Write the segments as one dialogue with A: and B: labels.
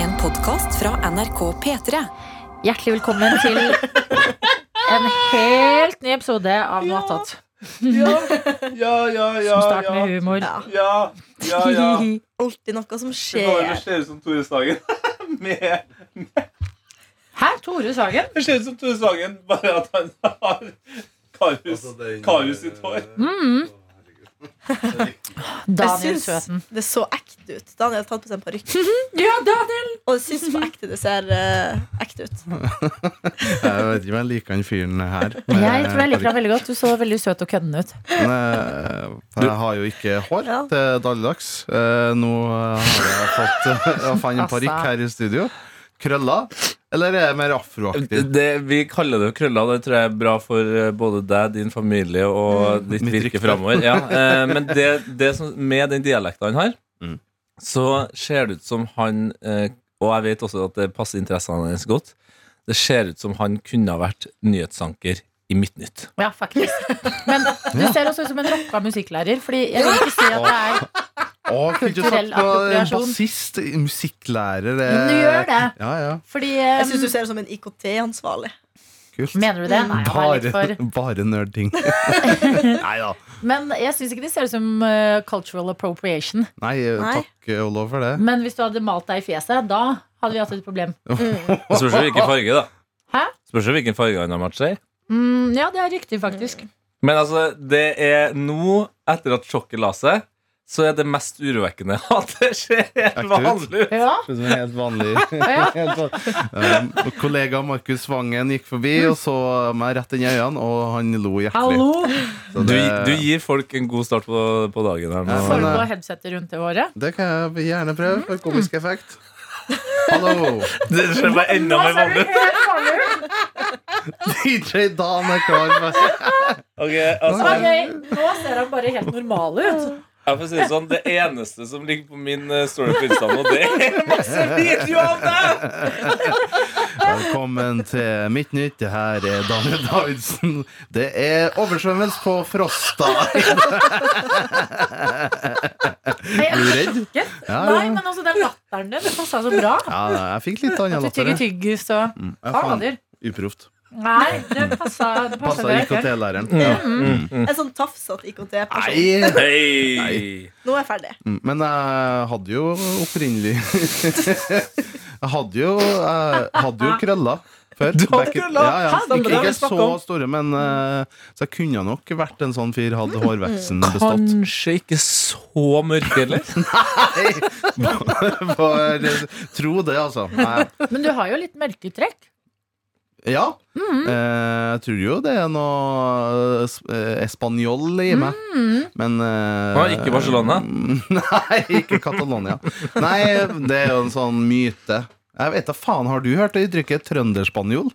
A: En podkast fra NRK P3.
B: Hjertelig velkommen til en helt ny episode av Noe attåt.
C: Ja, ja, ja,
B: Som
C: ja.
B: starter med
C: Ja,
B: humor.
D: Ja.
C: ja, ja, ja.
D: Alltid noe som
C: Det går an å
D: skjer.
C: se ut som Tore Sagen. Med,
B: Hæ, Tore Sagen?
C: det ser ut som Tore Sagen, bare at han har Karius
E: Altså, eh, det-
C: Karius sitt hår.
B: Mm.
E: Å, herregud.
B: Daniel
D: Jeg syns
B: Søten.
D: Det så ekte ut. Daniel har tatt på seg en parykk.
B: Ja, Daniel!
D: Og jeg syns på ekte det ser eh, ekte ut.
E: Jeg vet ikke om jeg liker han fyren her. med
B: Jeg tror jeg liker
E: parykk.
B: deg veldig godt. Du så veldig søt og køddende ut.
E: Men, eh, for Jeg har jo ikke hår
D: Ja.
E: til dagligdags. Eh, Nå eh, har jeg fått Jeg
B: Altså.
E: fant en parykk her i studio. Krøller. Eller er jeg mer afroaktig?
C: Det, vi kaller det jo krøller. Det tror jeg er bra for eh, både deg, din familie og
B: Mm.
C: ditt
E: Mitt
C: virke
E: rykte.
C: framover. Ja, eh, men det, det som, med den dialekten han har,
E: Mm.
C: så ser det ut som han eh, Og jeg vet også at det passer interessene hans godt. Det ser ut som han kunne ha vært nyhetsanker i Midtnytt.
B: Ja, faktisk. Men du ser også ut som en rocka musikklærer, fordi jeg vil ikke si at det er
C: eh,
E: Å, kunne du
B: Kulturell
E: sagt noe
B: appropriasjon.
E: bassist? Musikklærer? eh,
B: Men du gjør det.
E: Ja, ja,
B: Fordi
D: Jeg syns du
B: eh,
D: ser ut som en IKT-ansvarlig.
E: kult.
B: Mener du det? Nei, jeg var litt
E: Bare,
B: for
E: bare nerdting. Nei da.
B: Men jeg syns ikke det ser ut som eh, cultural appropriation.
E: Nei,
D: Nei.
E: takk og lov for det.
B: Men hvis du hadde malt deg i fjeset, da hadde vi hatt et problem.
C: Det Spørs jo hvilken farge, da.
B: Hæ?
C: Spørs jo hvilken farge han har matcha i.
B: Mm, ja, det er riktig, faktisk.
C: Men altså, det er nå, etter at sjokket la seg, så er det mest urovekkende at det ser helt
E: Ekte ut.
C: vanlig ut.
B: Ja,
E: Det som er helt vanlig.
B: ja.
E: Helt sånn. um, kollega Markus Vangen gikk forbi og så meg rett inn i øynene, og han lo hjertelig.
B: Hallo!
E: Så
C: Du,
E: det,
C: du gir folk en god start på, på dagen her
E: Ja,
C: nå.
B: Får du
E: Men,
B: på
E: eh,
B: headsetet rundt det håret?
E: det kan jeg gjerne prøve for komisk effekt. Hallo!
C: Det ser bare enda mer vanlig ut.
E: DJ Dan er klar. for-
C: Ok, altså,
B: Ok, nå ser han bare helt normal ut.
C: jeg får si det sånn, det eneste som ligger på min eh, story på Insta nå, det er masse video av deg!
E: Velkommen til Mitt Nytt. Det her er Daniel Davidsen. Det er oversvømmelse på Frosta.
B: Jeg
E: Er du redd?
B: ikke.
E: Ja,
B: Nei,
E: ja.
B: men altså, den latteren din, det passa så bra.
E: ja jeg fikk litt annen
B: At du tygger
E: latter.
B: tyggis og
E: Mm. Ja, faen.
B: Fader.
E: Uproft.
B: Nei, det passa det passet
E: Passa
B: deg ikke.
E: IKT-læreren.
D: En sånn tafsete IKT-person.
E: Mm. Nei!
C: Hei!
D: Nå er jeg ferdig.
E: Mm, Men jeg hadde jo opprinnelig Jeg hadde jo, jeg hadde jo krøller før.
C: Du hadde
E: Back in-
C: krøller?
E: Ja, ja.
B: Hæ, stemmer det,
E: Ikke,
C: vi
E: ikke
C: snakket
E: så
C: om.
E: store, men eh, Så jeg kunne nok vært en sånn fyr,
C: Mm.
E: hadde hårveksten bestått.
C: Kanskje ikke så mørk heller.
E: For, eh, tro det, altså. Nei.
B: Men du har jo litt melketrekk.
E: Ja.
C: Mm.
E: Eh, jeg tror jo det er noe eh, espanjol i meg,
C: Mm.
E: men eh,
C: Ah, ikke Barcelona?
E: Nei, ikke Catalonia. Nei, det er jo en sånn myte. Jeg vet da faen, Har du hørt det uttrykket trønderspanjol?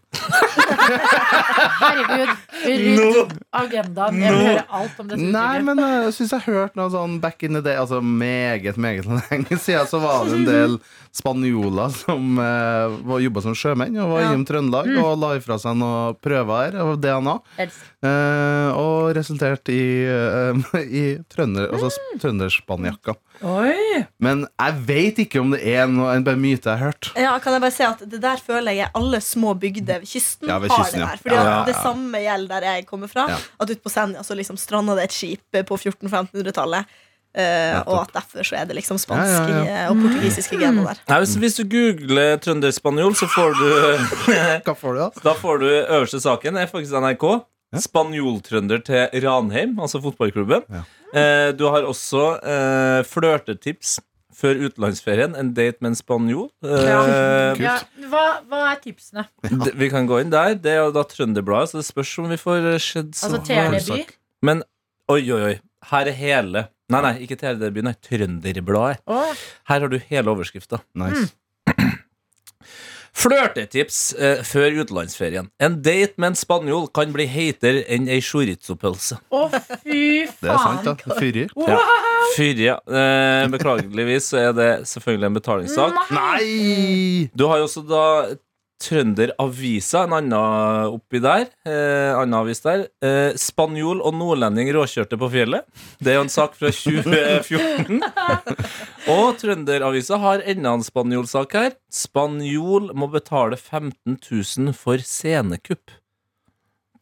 B: Herregud, rydd agendaen. Jeg vil høre alt om dette
E: Nei,
B: uttrykket.
E: men eh, jeg syns jeg hørte noe sånn back in the day, altså meget, meget lenge siden, så var det en del spanjoler som uh, jobba som sjømenn og var
D: Ja.
E: innom Trøndelag og la ifra seg noen prøver av DNA,
B: Elsk.
E: eh, og resulterte i, eh, i trønder, altså, sp- trønderspanjakka.
B: Oi!
E: Men jeg veit ikke om det er noe, en bare myte jeg har hørt.
D: Ja, kan jeg bare si at Det der føler jeg alle små bygder ved kysten
E: Ja, ved
D: har.
E: kysten,
D: det
E: ja.
D: der Fordi
E: Ja,
D: at
E: ja, ja.
D: Det samme gjelder der jeg kommer fra.
E: Ja.
D: At ute på Senja så liksom stranda det et skip på 1400-1500-tallet. eh, og at derfor så er det liksom spanske
E: Ja, ja,
D: eh, og
B: Mm.
D: portugisiske gener der.
C: Nei, hvis, hvis du googler trønderspanjol, så får du
E: Hva får du, da?
C: Da får du øverste saken, er faktisk NRK. Spanjoltrønder til Ranheim, altså fotballklubben.
E: Ja.
C: Eh, du har også eh, flørtetips før utenlandsferien. En date med en spanjol. Eh,
B: Ja.
E: Kult.
B: Ja, hva, hva er tipsene?
C: d- Vi kan gå inn der. Det er jo da Trønderbladet, så det spørs om vi får eh, skjedd så
B: Altså Teleby?
E: Sak.
C: Men oi, oi, oi. Her er hele Nei, nei, ikke Teleby, nei, Trønderbladet.
B: Å,
C: Her har du hele overskrifta.
E: Nice.
C: Flørtetips eh, før utenlandsferien. En date med en spanjol kan bli heitere enn ei chorizo-pølse.
B: å, fy
E: Det er sant,
B: faen.
E: da. Fyri.
C: Ja. Fyrje. Eh, beklageligvis så er det selvfølgelig en betalingssak.
E: Nei!
C: Du har jo også da Trønderavisa, en annen oppi der. Eh, annen avis der. Eh, Spanjol og nordlending råkjørte på fjellet. Det er jo en sak fra 2014. og Trønderavisa har enda en spanjolsak her. Spanjol må betale 15 000 for scenekupp.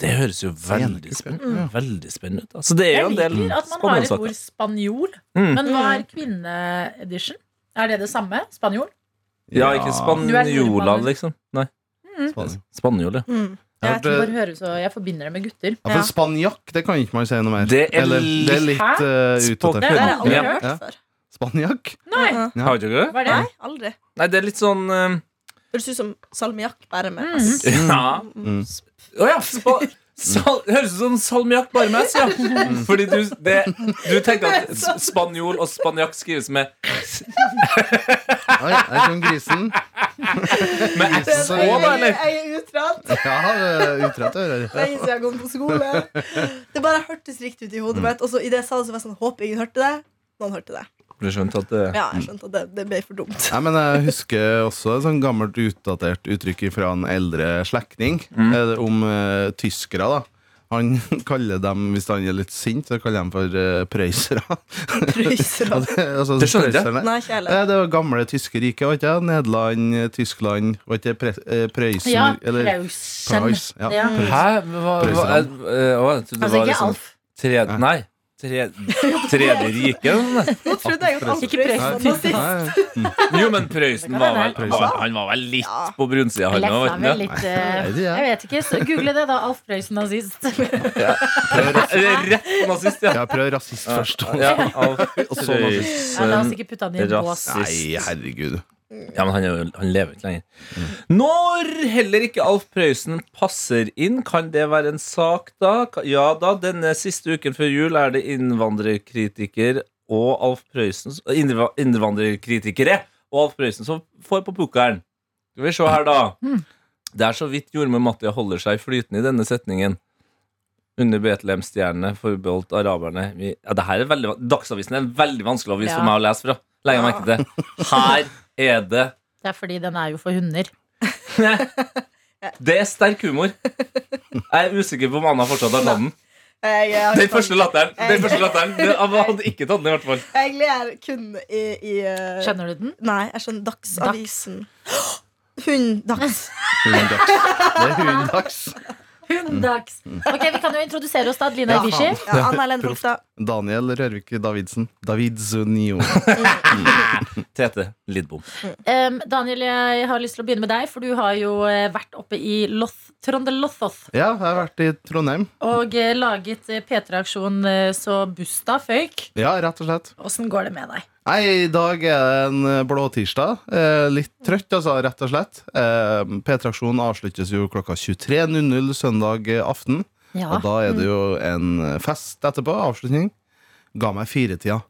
C: Det høres jo veldig, spenn
E: Scenekupp, ja.
C: veldig spennende ut. da. Så det er
B: Jeg
C: jo en del
B: liker at man har et ord
C: spanjolsaker.
B: spanjol,
C: Mm.
B: men hva er kvinneedition? Er det det samme? Spanjol?
C: Ja,
B: Du
C: ikke
B: er
C: spanjola,
B: nordmann.
C: liksom. Nei,
B: Mm.
E: Spanien.
C: spanjol, ja.
D: Mm.
B: Jeg,
E: Jeg hørte-
B: bare hører så, jeg forbinder det med gutter.
E: Ja, for
D: Ja.
E: spanjakk, det kan ikke man si noe mer.
C: Det er
E: Eller, det er
C: litt-
E: litt
B: Hæ?
E: uh,
B: Det
E: utdatert.
B: har jeg aldri
C: Ja.
B: hørt.
E: Ja.
D: før.
E: Spanjakk?
B: Nei,
D: Ja.
E: Ja.
C: Har du ikke det?
B: hva er det?
D: Nei, aldri.
C: Nei, det er litt sånn eh,
D: Høres ut som salmiakk, bare med
B: Mm.
D: S.
C: Ja.
E: Mm.
C: Å ja, spa- sal, høres ut som salmiakk bare med S, ja. Fordi du, det, du tenkte at s- spanjol og spanjakk skrives med,
E: Oi, jeg kom grisen.
C: med S
E: Så-
C: òg, da, eller?
D: Jeg er utrent.
E: Ja, eh, utrett ører.
D: Lenge siden jeg kom på skole. Det bare hørtes riktig ut i hodet mitt. Og så i det jeg sa det, så var jeg sånn Håper ingen hørte det. Noen hørte det.
C: Du skjønte at det
D: Ja, jeg skjønte at det, det ble for dumt.
E: Nei, men jeg husker også et sånn gammelt utdatert uttrykk fra en eldre slektning
C: Mm.
E: eh, om eh, tyskere. da Han kaller dem, hvis han er litt sint, så kaller han for eh, prøysere.
D: Prøyser
E: Og
D: og
E: det, altså,
C: Det skjønner jeg.
E: prøyserne-
D: Nei, ikke heller.
E: Eh, Det var gamle tyske riket, var ikke det? Nederland, eh, Tyskland, var ikke det Pre- eh, Prøysen?
B: Ja,
E: eller
B: Preussen.
E: Price, ja.
B: Ja.
C: Hæ? Hva, hva, eh, eh, å, jeg trodde det
B: Altså
C: var
B: ikke
C: liksom
B: Alf.
C: tredje Nei. Tredje, tredje rike? men-
D: Nå trodde jeg at alt
B: Ikke prøyser.
D: prøyser var sist.
E: Nei,
C: Jo, men Prøysen var vel var, Han var vel litt
D: Ja.
C: på brunsida, han
B: Lefsa
C: òg,
B: vel
C: vet du.
B: litt eh,
E: Nei, det er-
B: Jeg vet ikke. så Google det, da. Alf Prøysen nazist.
C: Rett på nazist, ja.
E: Ja, prøv rasist først.
C: ja Alf
E: Og så nazist.
B: Ja, la oss
C: Prøysen.
B: ikke putte han i en bås.
C: Rasist.
E: Nei, herregud.
C: Ja, men han, er, jo- han lever ikke lenger. Når heller ikke Alf Prøysen passer inn, kan det være en sak da? Ka- Ja da, denne siste uken før jul er det innvandrerkritiker og Alf Prøysen innva- Innvandrerkritikere og Alf Prøysen som får på pukkelen. Skal vi se her, da. Det er så vidt jordmor Mattia holder seg flytende i denne setningen. Under Betlehem-stjernene forbeholdt araberne Vi- ja, det her er veldig, van- Dagsavisen er en veldig vanskelig avis for
B: Ja.
C: meg å lese fra. Legg merke til det. Her er det
B: Det er fordi den er jo for hunder.
C: Det er sterk humor. Jeg er usikker på om Anna fortsatt har tatt den.
D: Jeg, jeg,
C: Den første latteren. Den første latteren det, Han hadde ikke tatt den, i hvert fall.
D: jeg ler kun i, i eh,
B: Skjønner du den?
D: Nei, jeg skjønner Dagsavisen. Hund Dags.
E: Hunddags. Det er hunddags.
B: Hunddags. Ok, Vi kan jo introdusere oss, da. Adelina
D: Ja.
B: Ibishi.
D: Ja, Anna Helene
E: Proff.
D: Hofstad.
E: Daniel Rørvik Davidsen. Davidsonio.
C: Tete Lidbom.
B: Um, Daniel, jeg har lyst til å begynne med deg, for du har jo eh, vært oppe i Loth, Trøndelothoth
E: Ja, jeg har vært i Trondheim.
B: og eh, laget eh, P3-aksjon eh, så busta føyk.
E: Ja, rett og slett.
B: Åssen går det med deg?
E: Nei, i dag er det en eh, blåtirsdag. Eh, litt trøtt, altså, rett og slett. Eh, P-traksjonen avsluttes jo klokka 23.00 søndag eh, aften.
B: Ja.
E: Og da er det jo en fest etterpå. Avslutning. Ga meg firetida.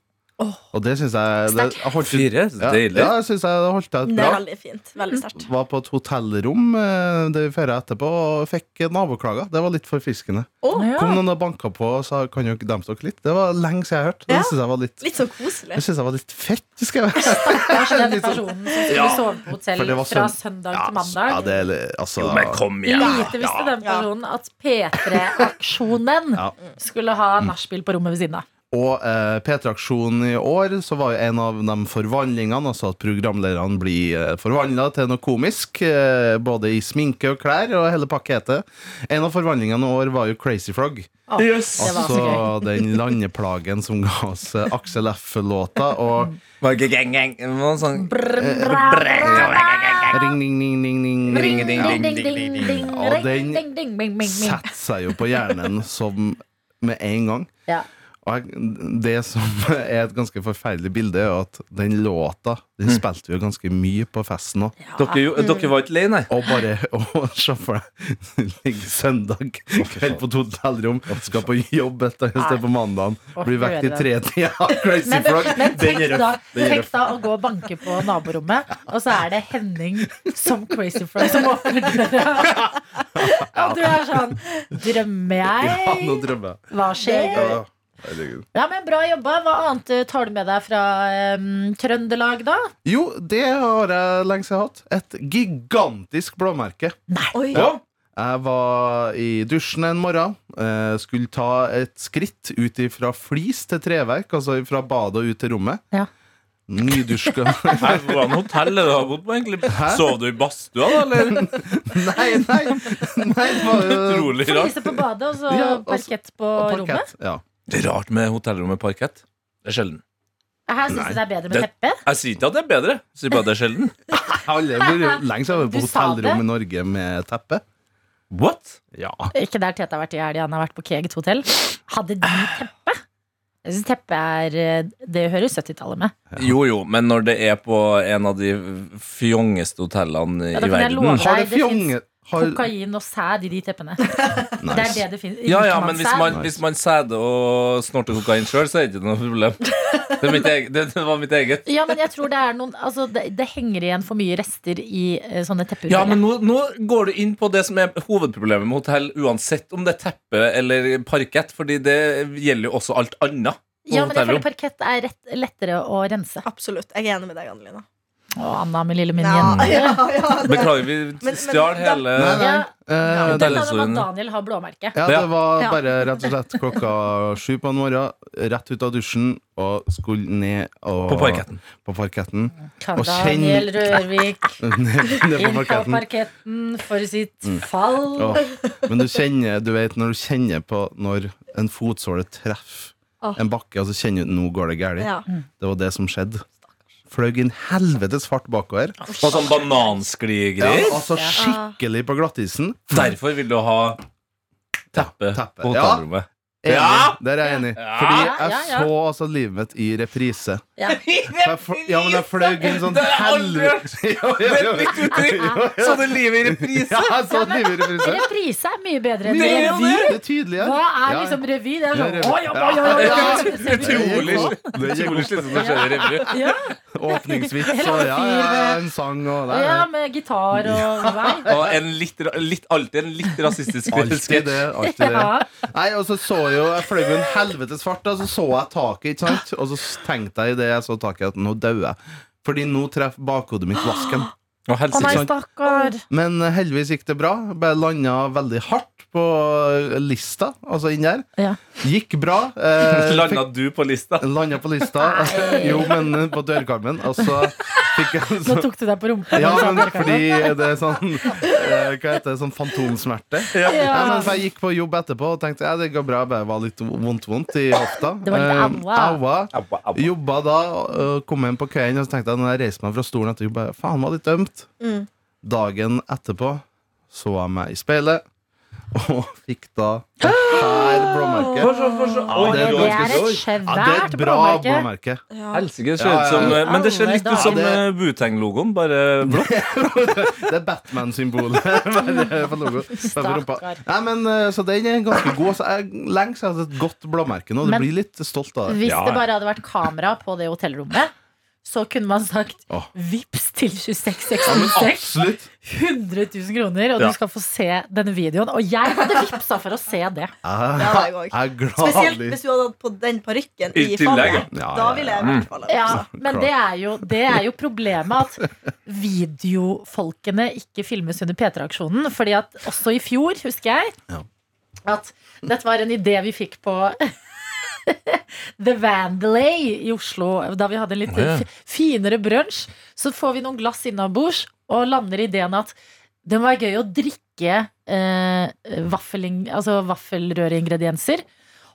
E: Og det syns jeg det, jeg holdt,
C: Fire.
E: ja,
C: Deilig.
E: ja, jeg syns jeg det holdt ut
D: Det
E: bra.
D: er veldig fint. Veldig sterkt.
E: Var på et hotellrom eh, det vi feira etterpå, og fikk eh, naboklager. Det var litt forfriskende. Kom
B: Mm. Ja.
E: noen og banka på og sa kan dere dempe dere litt. Det var lenge siden jeg hørte. Det
D: Ja.
E: syns jeg var litt
D: Litt sånn koselig.
E: det synes jeg var litt fett. Skal jeg være.
B: Kanskje den personen som skulle
C: Ja.
B: sove på hotell
E: For det var
B: fra
E: søn-
B: søndag
E: Ja,
B: til mandag.
E: Ja, det er litt- altså,
C: Jo, men kom igjen.
B: Lite visste den personen at P3-aksjonen
E: Ja.
B: skulle ha nachspiel på rommet ved siden av.
E: Og eh, P3-aksjonen i år så var jo en av de forvandlingene, altså at programlederne blir eh, forvandla til noe komisk, eh, både i sminke og klær og hele pakketet. En av forvandlingene i år var jo Crazy Frog.
B: Å,
C: Yes.
B: Det var så
E: Altså
B: gøy.
E: den landeplagen som ga oss eh, Aksel F-låta og
C: Var ikke gang, gang. Det var en sånn
E: ring, ring, ring, ring, ring, ring.
C: Ring, ding, ding, ding, ding, ding.
E: Og den
B: Sett.
E: Setter seg jo på hjernen som med en gang.
B: Ja.
E: Og jeg, det som er et ganske forferdelig bilde, er jo at den låta Den spilte vi jo ganske mye på festen òg.
C: Dere, jo- dere var ikke lei, nei?
E: Og bare å se for deg ligge søndag kveld på et hotellrom, skal på jobb et eller annet sted på mandagen,
B: Å,
E: blir vekket i
B: høre
E: tretida av Crazy
B: Men,
E: Frog.
B: men
E: Den er
B: tenk, da,
E: røff. Den er
B: tenk
E: røff.
B: da å gå og banke på naborommet, og så er det Henning som Crazy Frog som åpner døra. Og du er sånn Drømmer
E: Ja, nå
B: jeg?
E: drømmer jeg.
B: Hva skjer?
E: Ja. Herregud.
B: Ja, men Bra jobba. Hva annet eh, tar du med deg fra em, Trøndelag, da?
E: Jo, det har jeg lenge siden hatt. Et gigantisk blåmerke.
D: Oi.
E: Ja. Jeg var i dusjen en morgen. eh, Skulle ta et skritt ut fra flis til treverk, altså fra badet og ut til rommet.
B: Ja.
E: Nydusjka
C: Her, Hvordan hotellet du har bodd på, egentlig? Sov du i badstua, da? Eller?
E: Nei, nei! nei det var jo
C: Utrolig rart.
B: Fryse på badet, og så
E: Ja, og så-
B: parkett
C: altså,
B: på rommet?
E: parkett. Ja.
C: Det er rart med hotellrom med parkett. Det er sjelden.
B: Her syns
C: Nei.
B: du det er bedre med
C: Det-
B: teppe?
C: Jeg sier ikke at det er bedre, jeg sier bare at det er sjelden.
E: Jeg har aldri vært lenge siden jeg har vært på
B: Du sa det.
E: hotellrom i Norge med teppe.
C: What?
E: Ja.
B: Ikke der Tete har vært i helga. Han har vært på Keget hotell. Hadde de teppe? Jeg syns teppe er eh, Det hører 70-tallet med.
C: Jo, jo, men når det er på en av de fjongeste hotellene
B: Ja, da
C: i
B: kan jeg love
C: verden
B: deg.
E: Har det
B: det
E: fjonge har,
B: Kokain og sæd i de teppene. Det er det
E: nice.
B: det finnes.
C: Ja, ja,
B: Liker
C: men hvis
B: sæd?
C: man, hvis man sæder og snorter kokain sjøl, så er det ikke noe problem. Det, er mitt eget, det, det var mitt eget.
B: Ja, men jeg tror det er noen Altså, det, det henger igjen for mye rester i eh, sånne tepper.
C: Ja, men nå, nå går du inn på det som er hovedproblemet med hotell, uansett om det er teppe eller parkett, fordi det gjelder jo også alt annet. på
B: Ja, men jeg
C: hotellrom.
B: føler parkett er rett, lettere å rense.
D: Absolutt. Jeg er enig med deg, Anne-Lina.
B: Å, Anna med lille min
D: Ja,
B: jente.
D: ja, ja, det-
C: Beklager, vi
D: men
C: stjal
D: da-
C: hele
E: Nei, nei.
B: Ja.
E: Eh,
B: Det er sånn at
C: Hotellhistorien.
B: Daniel har blåmerke.
C: Ja.
E: Ja, det var
D: Ja.
E: bare rett og slett klokka sju på en morgen. Rett ut av dusjen og skulle ned og
C: på parketten.
E: På parketten.
B: Kan
E: Og kjenn-
B: Daniel Rørvik
E: ned, ned på
B: inn på
E: parketten.
B: parketten for sitt fall?
E: Åh, men du kjenner, du vet når du kjenner på når en fotsåle treffer
D: Åh.
E: en bakke, og så kjenner du nå går det galt.
D: ja.
E: Det var det som skjedde. Fløy inn helvetes fart bakover.
C: Og sånn banansklidgreier.
E: altså
B: Ja.
E: skikkelig på glattisen.
C: Derfor vil du ha teppe,
E: Teppe.
C: på
E: Ja.
C: hotellrommet.
E: Enig.
C: Ja!
E: Der er jeg enig.
C: Ja.
E: Fordi
B: Ja,
E: jeg
B: ja, ja.
E: så altså livet mitt i reprise.
B: Ja.
E: Så jeg fl- Ja, men jeg fløy inn sånn
C: Det har jeg aldri
E: helvete Ja, ja, ja.
C: Sånn er livet i reprise.
E: Ja, jeg så livet i reprise.
B: Reprise er mye bedre enn
E: Det er jo
B: revy.
E: det. Det er tydelig, ja.
B: Hva er
E: Ja, ja.
B: liksom revy? Det er
E: Ja,
B: sånn
E: revy.
B: oi, oi, oi, oi, oi, oi.
C: Utrolig
E: Det gikk
C: utrolig
E: opp.
C: slitsomt å se det i revy.
B: Ja,
E: Åpningsvits og ja, ja, ja, en sang og der.
B: ja, med gitar og vei.
C: Og en litt, ra- litt, alltid en litt rasistisk
E: Alltid det. Alltid det.
B: Ja.
E: Nei, og så så jeg jo Jeg fløy jo en helvetes fart, da, så så jeg taket, ikke sant? Og så tenkte jeg i det jeg så taket, at nå dauer jeg. Fordi nå treffer bakhodet mitt vasken.
C: Og sånn,
B: Å nei,
C: helsike.
B: stakkar.
E: Men eh, heldigvis gikk det bra. Bare landa veldig hardt på lista, altså inn der.
B: Ja.
E: Gikk bra. Eh,
C: Landa du på lista?
E: Landa på lista.
B: Nei.
E: Jo, men på dørkarmen. Og så fikk jeg
B: Nå
E: så,
B: tok du deg på rumpa.
E: Ja,
B: når du sa
E: men
B: det, Karsten.
E: fordi det er sånn eh, Hva heter det? Sånn fantomsmerte.
B: Ja.
E: Nei, men for jeg gikk på jobb etterpå og tenkte ja, det går bra. Bare var litt vondt-vondt i hofta.
B: Det var litt
E: Eh,
B: aua.
C: Abba, abba.
E: Jobba da, eh, kom hjem på kvelden og så tenkte jeg når jeg reiste meg fra stolen etter jobb, bare, faen, var litt ømt.
D: Mm.
E: Dagen etterpå så jeg meg i speilet og fikk da det her blåmerket.
C: Oi,
E: det
B: Det
E: er
C: oi,
E: ganske
B: er
C: oi.
B: et
E: Ja, det er
B: svært
E: et bra
B: blåmerke.
E: blåmerke.
D: Ja.
C: Helsike, det ser
E: Ja,
C: ut
E: ja,
C: som eh,
B: ja.
C: Men det ser litt ut som
E: Ja,
C: eh, Buteng-logoen, bare blått.
E: Det er Batman-symbolet. Bare for logo. Bare for rumpa.
B: Stakkar.
E: Nei, men, eh, så den er ganske god. Så jeg lenge siden jeg har hatt et godt blåmerke nå. Du
B: Men-
E: blir litt stolt av det.
B: Hvis
C: Ja,
B: det
C: ja.
B: bare hadde vært kamera på det hotellrommet, så kunne man sagt
E: Åh.
B: vips til 26
E: Ja, men
B: 66
E: absolutt.
B: 100 000 kroner, og
C: Ja.
B: du skal få se denne videoen. Og jeg hadde vipsa for å se det.
E: Jeg,
D: Ja, jeg også.
E: jeg er
D: Spesielt
E: gladelig.
D: hvis du hadde hatt på den parykken
C: I
D: i
C: tillegg,
D: fallet.
E: ja. Ja,
D: Da
E: ja,
D: ville
E: ja.
D: jeg i hvert fall ha
B: Ja, men
E: klart.
B: det er, jo, det er jo problemet at videofolkene ikke filmes under P3-aksjonen. Fordi at også i fjor, husker jeg,
E: Ja.
B: at dette var en idé vi fikk på The Vandelay i Oslo. Da vi hadde en litt
C: Å, ja.
B: fi- finere brunsj. Så får vi noen glass innabords og lander ideen at det må være gøy å drikke eh, vaffeling, altså vaffelrøreingredienser.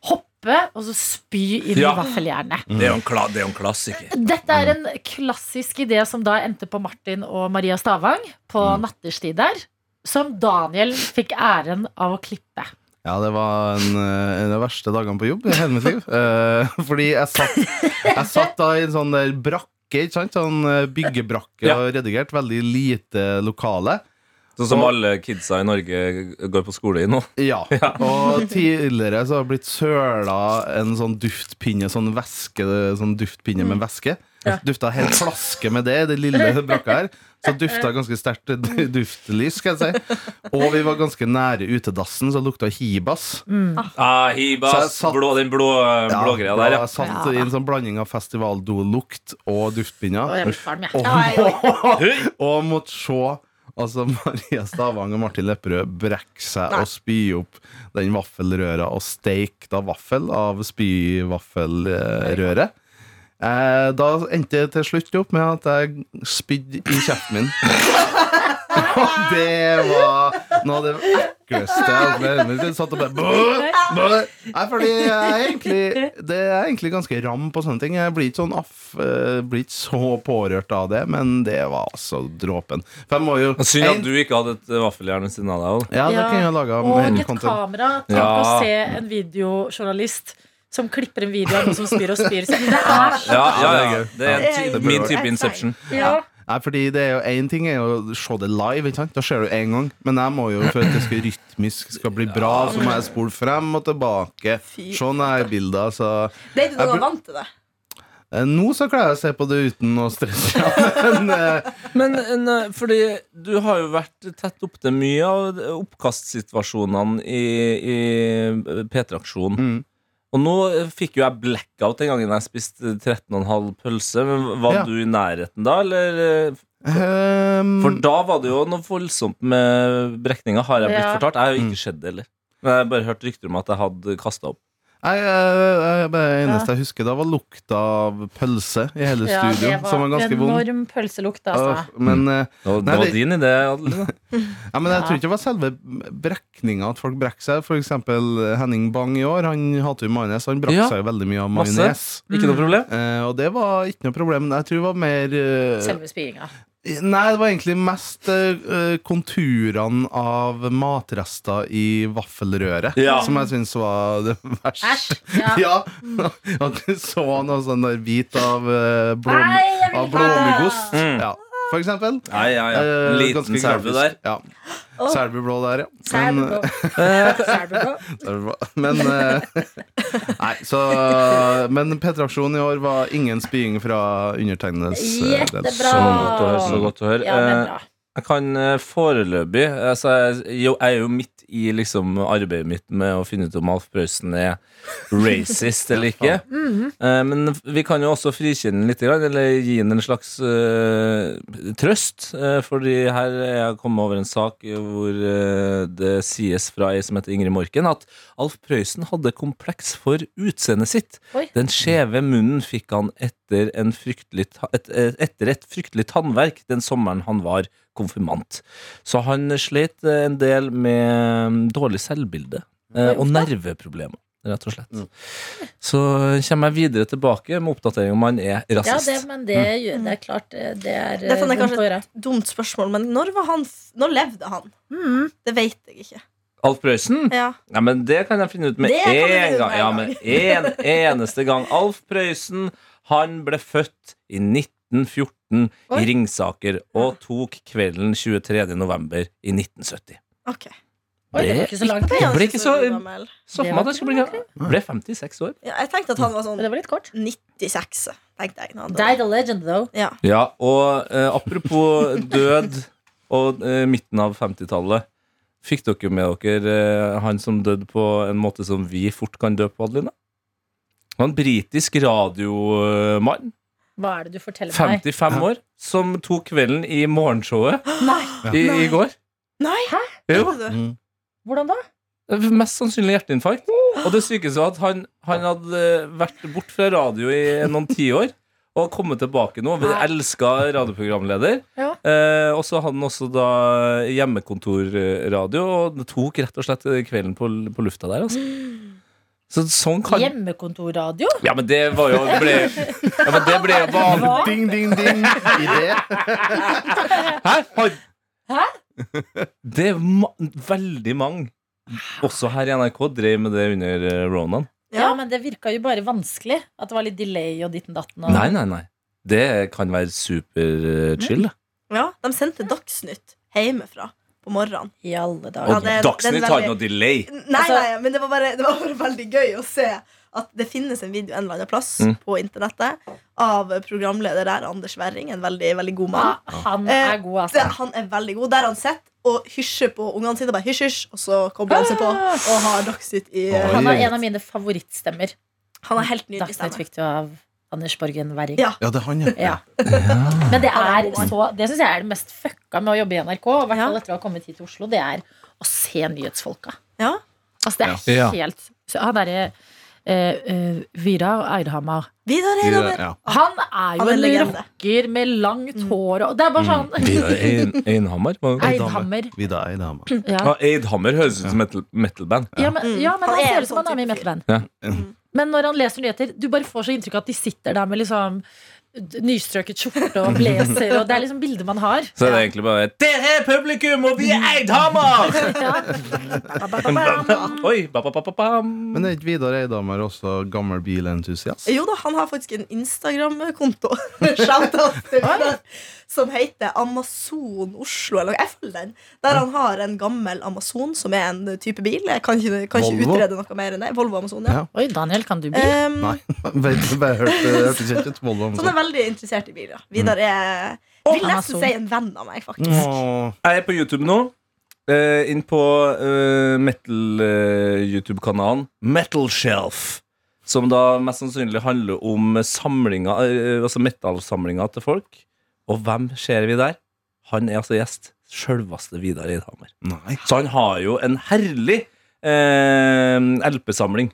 B: Hoppe, og så spy inn
C: Ja.
B: i vaffeljernet.
C: Det er jo en, kla det er jo en klassiker.
B: Dette er en klassisk idé som da endte på Martin og Maria Stavang på
E: Mm.
B: natterstid der. Som Daniel fikk æren av å klippe.
E: Ja, det var en, eh, en av de verste dagene på jobb i hele mitt liv. Eh, fordi jeg satt, jeg satt da i en sånn der brakke, ikke sant? Sånn eh, byggebrakke
C: Ja.
E: og redigert. Veldig lite lokale.
C: Sånn som alle kidsa i Norge går på skole i nå.
E: Ja. Og tidligere så har det blitt søla en sånn duftpinne, sånn væske, sånn duftpinne med væske. Dufta helt flaske med det i det lille brakka her. Så dufta ganske sterkt d- duftlys, skal jeg si. Og vi var ganske nære utedassen, så det lukta hibas.
C: Ah,
E: Så jeg
C: hibas,
E: satt-
C: blå, den blå,
E: eh, Ja,
C: blågreia der, ja.
E: Jeg satt i en sånn blanding av festivaldolukt og
B: Å,
E: duftpinner.
B: jeg blir kvalm, jeg.
E: Og, og måtte se altså Maria Stavang og Martin Lepperød brekke seg og spy opp den vaffelrøra og steike da vaffel av spyvaffelrøret. Eh, da endte jeg til slutt opp med at jeg spydde i kjeften min. Og det var noe av det ekleste jeg opplevde. Jeg satt og bare bøh, bøh. Nei, fordi jeg er egentlig, det er egentlig ganske ram på sånne ting. Jeg blir ikke, sånn aff, eh, blir ikke så pårørt av det, men det var altså dråpen. For jeg må jo
C: Synd at
E: en-
C: du ikke hadde et eh, vaffeljern ved siden av deg. også.
E: Ja, det
B: Ja,
E: kunne jeg laga
B: Og
E: mer
B: et
E: content.
B: kamera. Tenk å
C: Ja.
B: se en videojournalist som klipper en video av noen som spyr og spyr. Så det er så
C: Ja, ja, ja. Det er
D: Det
C: en
D: er
C: ty min
E: jo-
C: type Inception.
B: ja.
E: Nei, fordi det er jo én ting er jo å se det live, ikke sant? da ser du én gang. Men jeg må jo for at det skal rytmisk skal bli bra, så må jeg spole frem og tilbake.
D: Fy.
E: Se nærbilder, så
D: Ble du
E: Jeg
D: da
E: bru-
D: vant til det?
E: Eh, Nå så klarer jeg å se på det uten å stresse. Men eh,
C: Men en, eh, fordi du har jo vært tett opp til mye av oppkastsituasjonene i, i P3-aksjonen.
E: mm.
C: Og nå eh, fikk jo jeg blackout den gangen jeg spiste 13,5 pølse. Men var
E: Ja.
C: du i nærheten da, eller? eh,
E: Ehm,
C: For da var det jo noe voldsomt med brekninga, har jeg blitt
B: Ja.
C: fortalt. Jeg har jo
E: Mm.
C: ikke sett det heller. Men jeg har bare hørt rykter om at jeg hadde kasta opp.
E: Nei, eh, eh, Det eneste jeg husker, da var lukta av pølse i hele
B: Ja, det
E: studio, som var
B: var
E: ganske vond.
B: enorm pølselukt,
E: Øh,
B: altså.
E: Men, eh,
C: Det var,
E: Nei,
C: det var
E: det-
C: din idé, Adeline.
E: ja, men
B: Ja.
E: jeg tror ikke det var selve brekninga, at folk brekker seg. For eksempel eh, Henning Bang i år, han hater jo majones. Han brakk
C: Ja.
E: seg jo veldig mye av
C: Masse.
E: majones.
C: Ikke noe problem?
E: Eh, og det var ikke noe problem. Jeg tror det var mer eh,
B: Selve spyinga.
E: Nei, det var egentlig mest eh, eh, konturene av matrester i vaffelrøret
C: Ja.
E: som jeg syns var det verste.
B: Æsj. Ja.
E: Ja, at du så noe sånn der hvit av, eh, blom,
B: Nei, jeg vil
E: av
B: ikke ha det.
E: blåmuggost.
C: Mm.
E: Ja, for eksempel.
C: Nei, ja, ja.
E: Eh, ganske
C: Liten selve der.
E: grafisk. Ja. Selbublå der, ja. Men, eh,
B: Selbublå. Selbublå.
E: Selbublå. men eh, Nei, så Men P3-aksjonen i år var ingen spying fra undertegnedes eh, del.
B: Jettebra.
C: Så godt å høre. Så godt å høre.
B: Ja, men
C: Eh,
B: bra.
C: Jeg kan eh, foreløpig altså jeg, jo, jeg er jo midt i liksom, arbeidet mitt med å finne ut om Alf Prøysen er racist eller ikke.
B: Mhm.
C: Eh, Men vi kan jo også frikjenne litt, grann, eller gi ham en slags eh, trøst. eh, fordi her er jeg kommet over en sak hvor eh, det sies fra ei som heter Ingrid Morken, at Alf Prøysen hadde kompleks for utseendet sitt.
B: Oi.
C: Den skjeve munnen fikk han etter, en fryktelig, ta- et, et- etter et fryktelig tannverk den sommeren han var konfirmant. Så han slet eh, en del med mm, dårlig selvbilde eh, og nerveproblemer, rett og slett.
B: Mm.
C: Så kommer jeg videre tilbake med oppdatering om han er
B: Ja,
C: rasist.
B: det, men det,
E: Mm.
B: gjør- det er klart eh, Det er eh,
D: Dette er
B: vondt
D: kanskje-
B: å gjøre.
D: Dumt spørsmål, men når, var han, f- når levde han?
B: Mm.
D: Det vet jeg ikke.
C: Alf Prøysen?
D: Ja.
C: Ja, men det kan jeg finne ut med
D: Det kan du finne
C: én
D: ut
C: gang.
D: med
C: Ja,
D: en
C: men en eneste gang. Alf Prøysen, han ble født i 1914
B: Oi.
C: i Ringsaker og tok kvelden 23. november i 1970.
D: Ok.
B: Oi, det var ikke så langt.
D: Det er
C: Jeg ble
D: ganske
C: ikke
D: så
C: så-
D: gammel.
B: Det
C: Så for
B: var
C: meg at jeg skulle bli Ble 56 år.
D: Ja, jeg tenkte at han var sånn
B: Men det var litt kort.
D: 96, tenkte jeg. når han døde.
B: Died a legend, though.
D: Ja.
C: Ja, og eh, apropos død og eh, midten av 50-tallet. Fikk dere med dere eh, han som døde på en måte som vi fort kan dø på, Adeline? Han var en britisk radiomann,
B: Hva er det du forteller meg?
C: 55 år, som tok kvelden i morgenshowet
D: Nei!
C: i, i går.
D: Nei!
C: Jo,
D: Gjorde du?
E: Mm.
B: Hvordan da?
C: Mest sannsynlig hjerteinfarkt. Og det sykeste var at han, han hadde vært bort fra radio i noen tiår. Og kommet tilbake nå. Elska radioprogramleder.
B: Ja.
C: Eh, og så hadde han også da hjemmekontorradio, og det tok rett og slett kvelden på, på lufta der. Altså. Så sånn kan
B: Hjemmekontorradio?
C: Ja, men det var jo ble, ja, men det ble jo vanlig.
B: Hva?
E: Ding, ding, ding. Idé.
C: Hæ? Har-
B: Hæ?
C: Det er ma veldig mange, også her i NRK, drev med det under eh, Ronan.
B: Ja, men det virka jo bare vanskelig. At det var litt delay og ditten datten. Og...
C: Nei, nei, nei. Det kan være super eh, chill. da.
D: Ja, de sendte Dagsnytt hjemmefra. på morgenen.
F: I alle dager.
D: Ja,
C: Og
D: det er-
C: Dagsnytt
D: det er
C: har
D: veldig-
C: ikke noe delay.
D: Nei,
F: Altså-
D: nei, men det var, bare, det var bare veldig gøy å se at det finnes en video en eller annen plass
C: Mm.
D: på internettet av programleder der, Anders Werring, en veldig, veldig god mann.
B: Ah, Han er god,
D: Det,
B: altså.
D: han er veldig god. Der har han sitter og hysjer på ungene sine, bare hysj, hysj, og så kobler han seg på og har Dagsnytt i
E: Oi.
D: Han
B: Han er en av mine favorittstemmer.
D: han har helt nydelig
B: Dagsnytt
D: stemme.
B: fikk du av Anders Borgen Werring.
D: Ja.
E: Ja, det er han, ja.
B: Ja. Men det er så Det syns jeg er det mest fucka med å jobbe i NRK, og i hvert fall etter å ha kommet hit til Oslo, det er å se nyhetsfolka.
D: Ja.
B: Altså, det er
C: Ja.
B: helt så Han derre eh, eh, Vidar Eidhammer.
D: Vidar
E: I det-
D: Eidhammer.
E: ja.
B: Han er jo
D: Han er
B: en
D: legende. Mm.
B: rocker med langt hår og Det er bare
E: Mm.
B: sånn
C: Vidar Ein- Einhammer? var det?
B: Eidhammer.
E: Vidar Eidhammer. Ja.
B: Ja.
C: Ja, Eidhammer høres ut som et metal-band.
B: Ja, men, ja, men
D: Han
B: han
D: er
B: ser
D: en
B: ut som han
D: sånn
B: er med i
D: type fyr.
B: metal-band.
C: Ja.
E: Mm.
B: Men når han leser nyheter, du bare får så inntrykk av at de sitter der med liksom d- nystrøket skjorte og blazer, og det er liksom bildet man har.
C: Så er det egentlig bare Dere er publikum, og vi er Eidhammer!
B: Ja.
C: Oi, ba, ba, ba, ba, bam.
E: Men er ikke Vidar Eidhammer også gammel bilentusiast?
D: Jo da, han har faktisk en Instagram-konto Shoutout til Vidar, som heter Amazon Oslo. Eller noe. jeg følger den. Der han har en gammel Amazon, som er en type bil. Jeg kan ikke, kan ikke
E: Volvo?
D: utrede noe mer enn det. Volvo Amazon, ja.
E: Ja.
B: Eh, Oi, Daniel, kan du bli?
D: Ehm,
E: Nei. Vet du, bare hørte hørtes ikke ut.
D: så
E: Volvo
D: han
E: Amazon.
D: Sånn er veldig interessert i biler. Vidar er vil nesten
B: Amazon.
D: si en venn av meg, faktisk.
E: Åh.
C: Jeg er på YouTube nå. Eh, inn på eh, metal-YouTube-kanalen Metal Shelf. Som da mest sannsynlig handler om samlinga, eh, altså metal-samlinga til folk. Og hvem ser vi der? Han er altså gjest. Sjølveste Vidar Eidhammer.
E: Nei.
C: Så han har jo en herlig eh, LP-samling.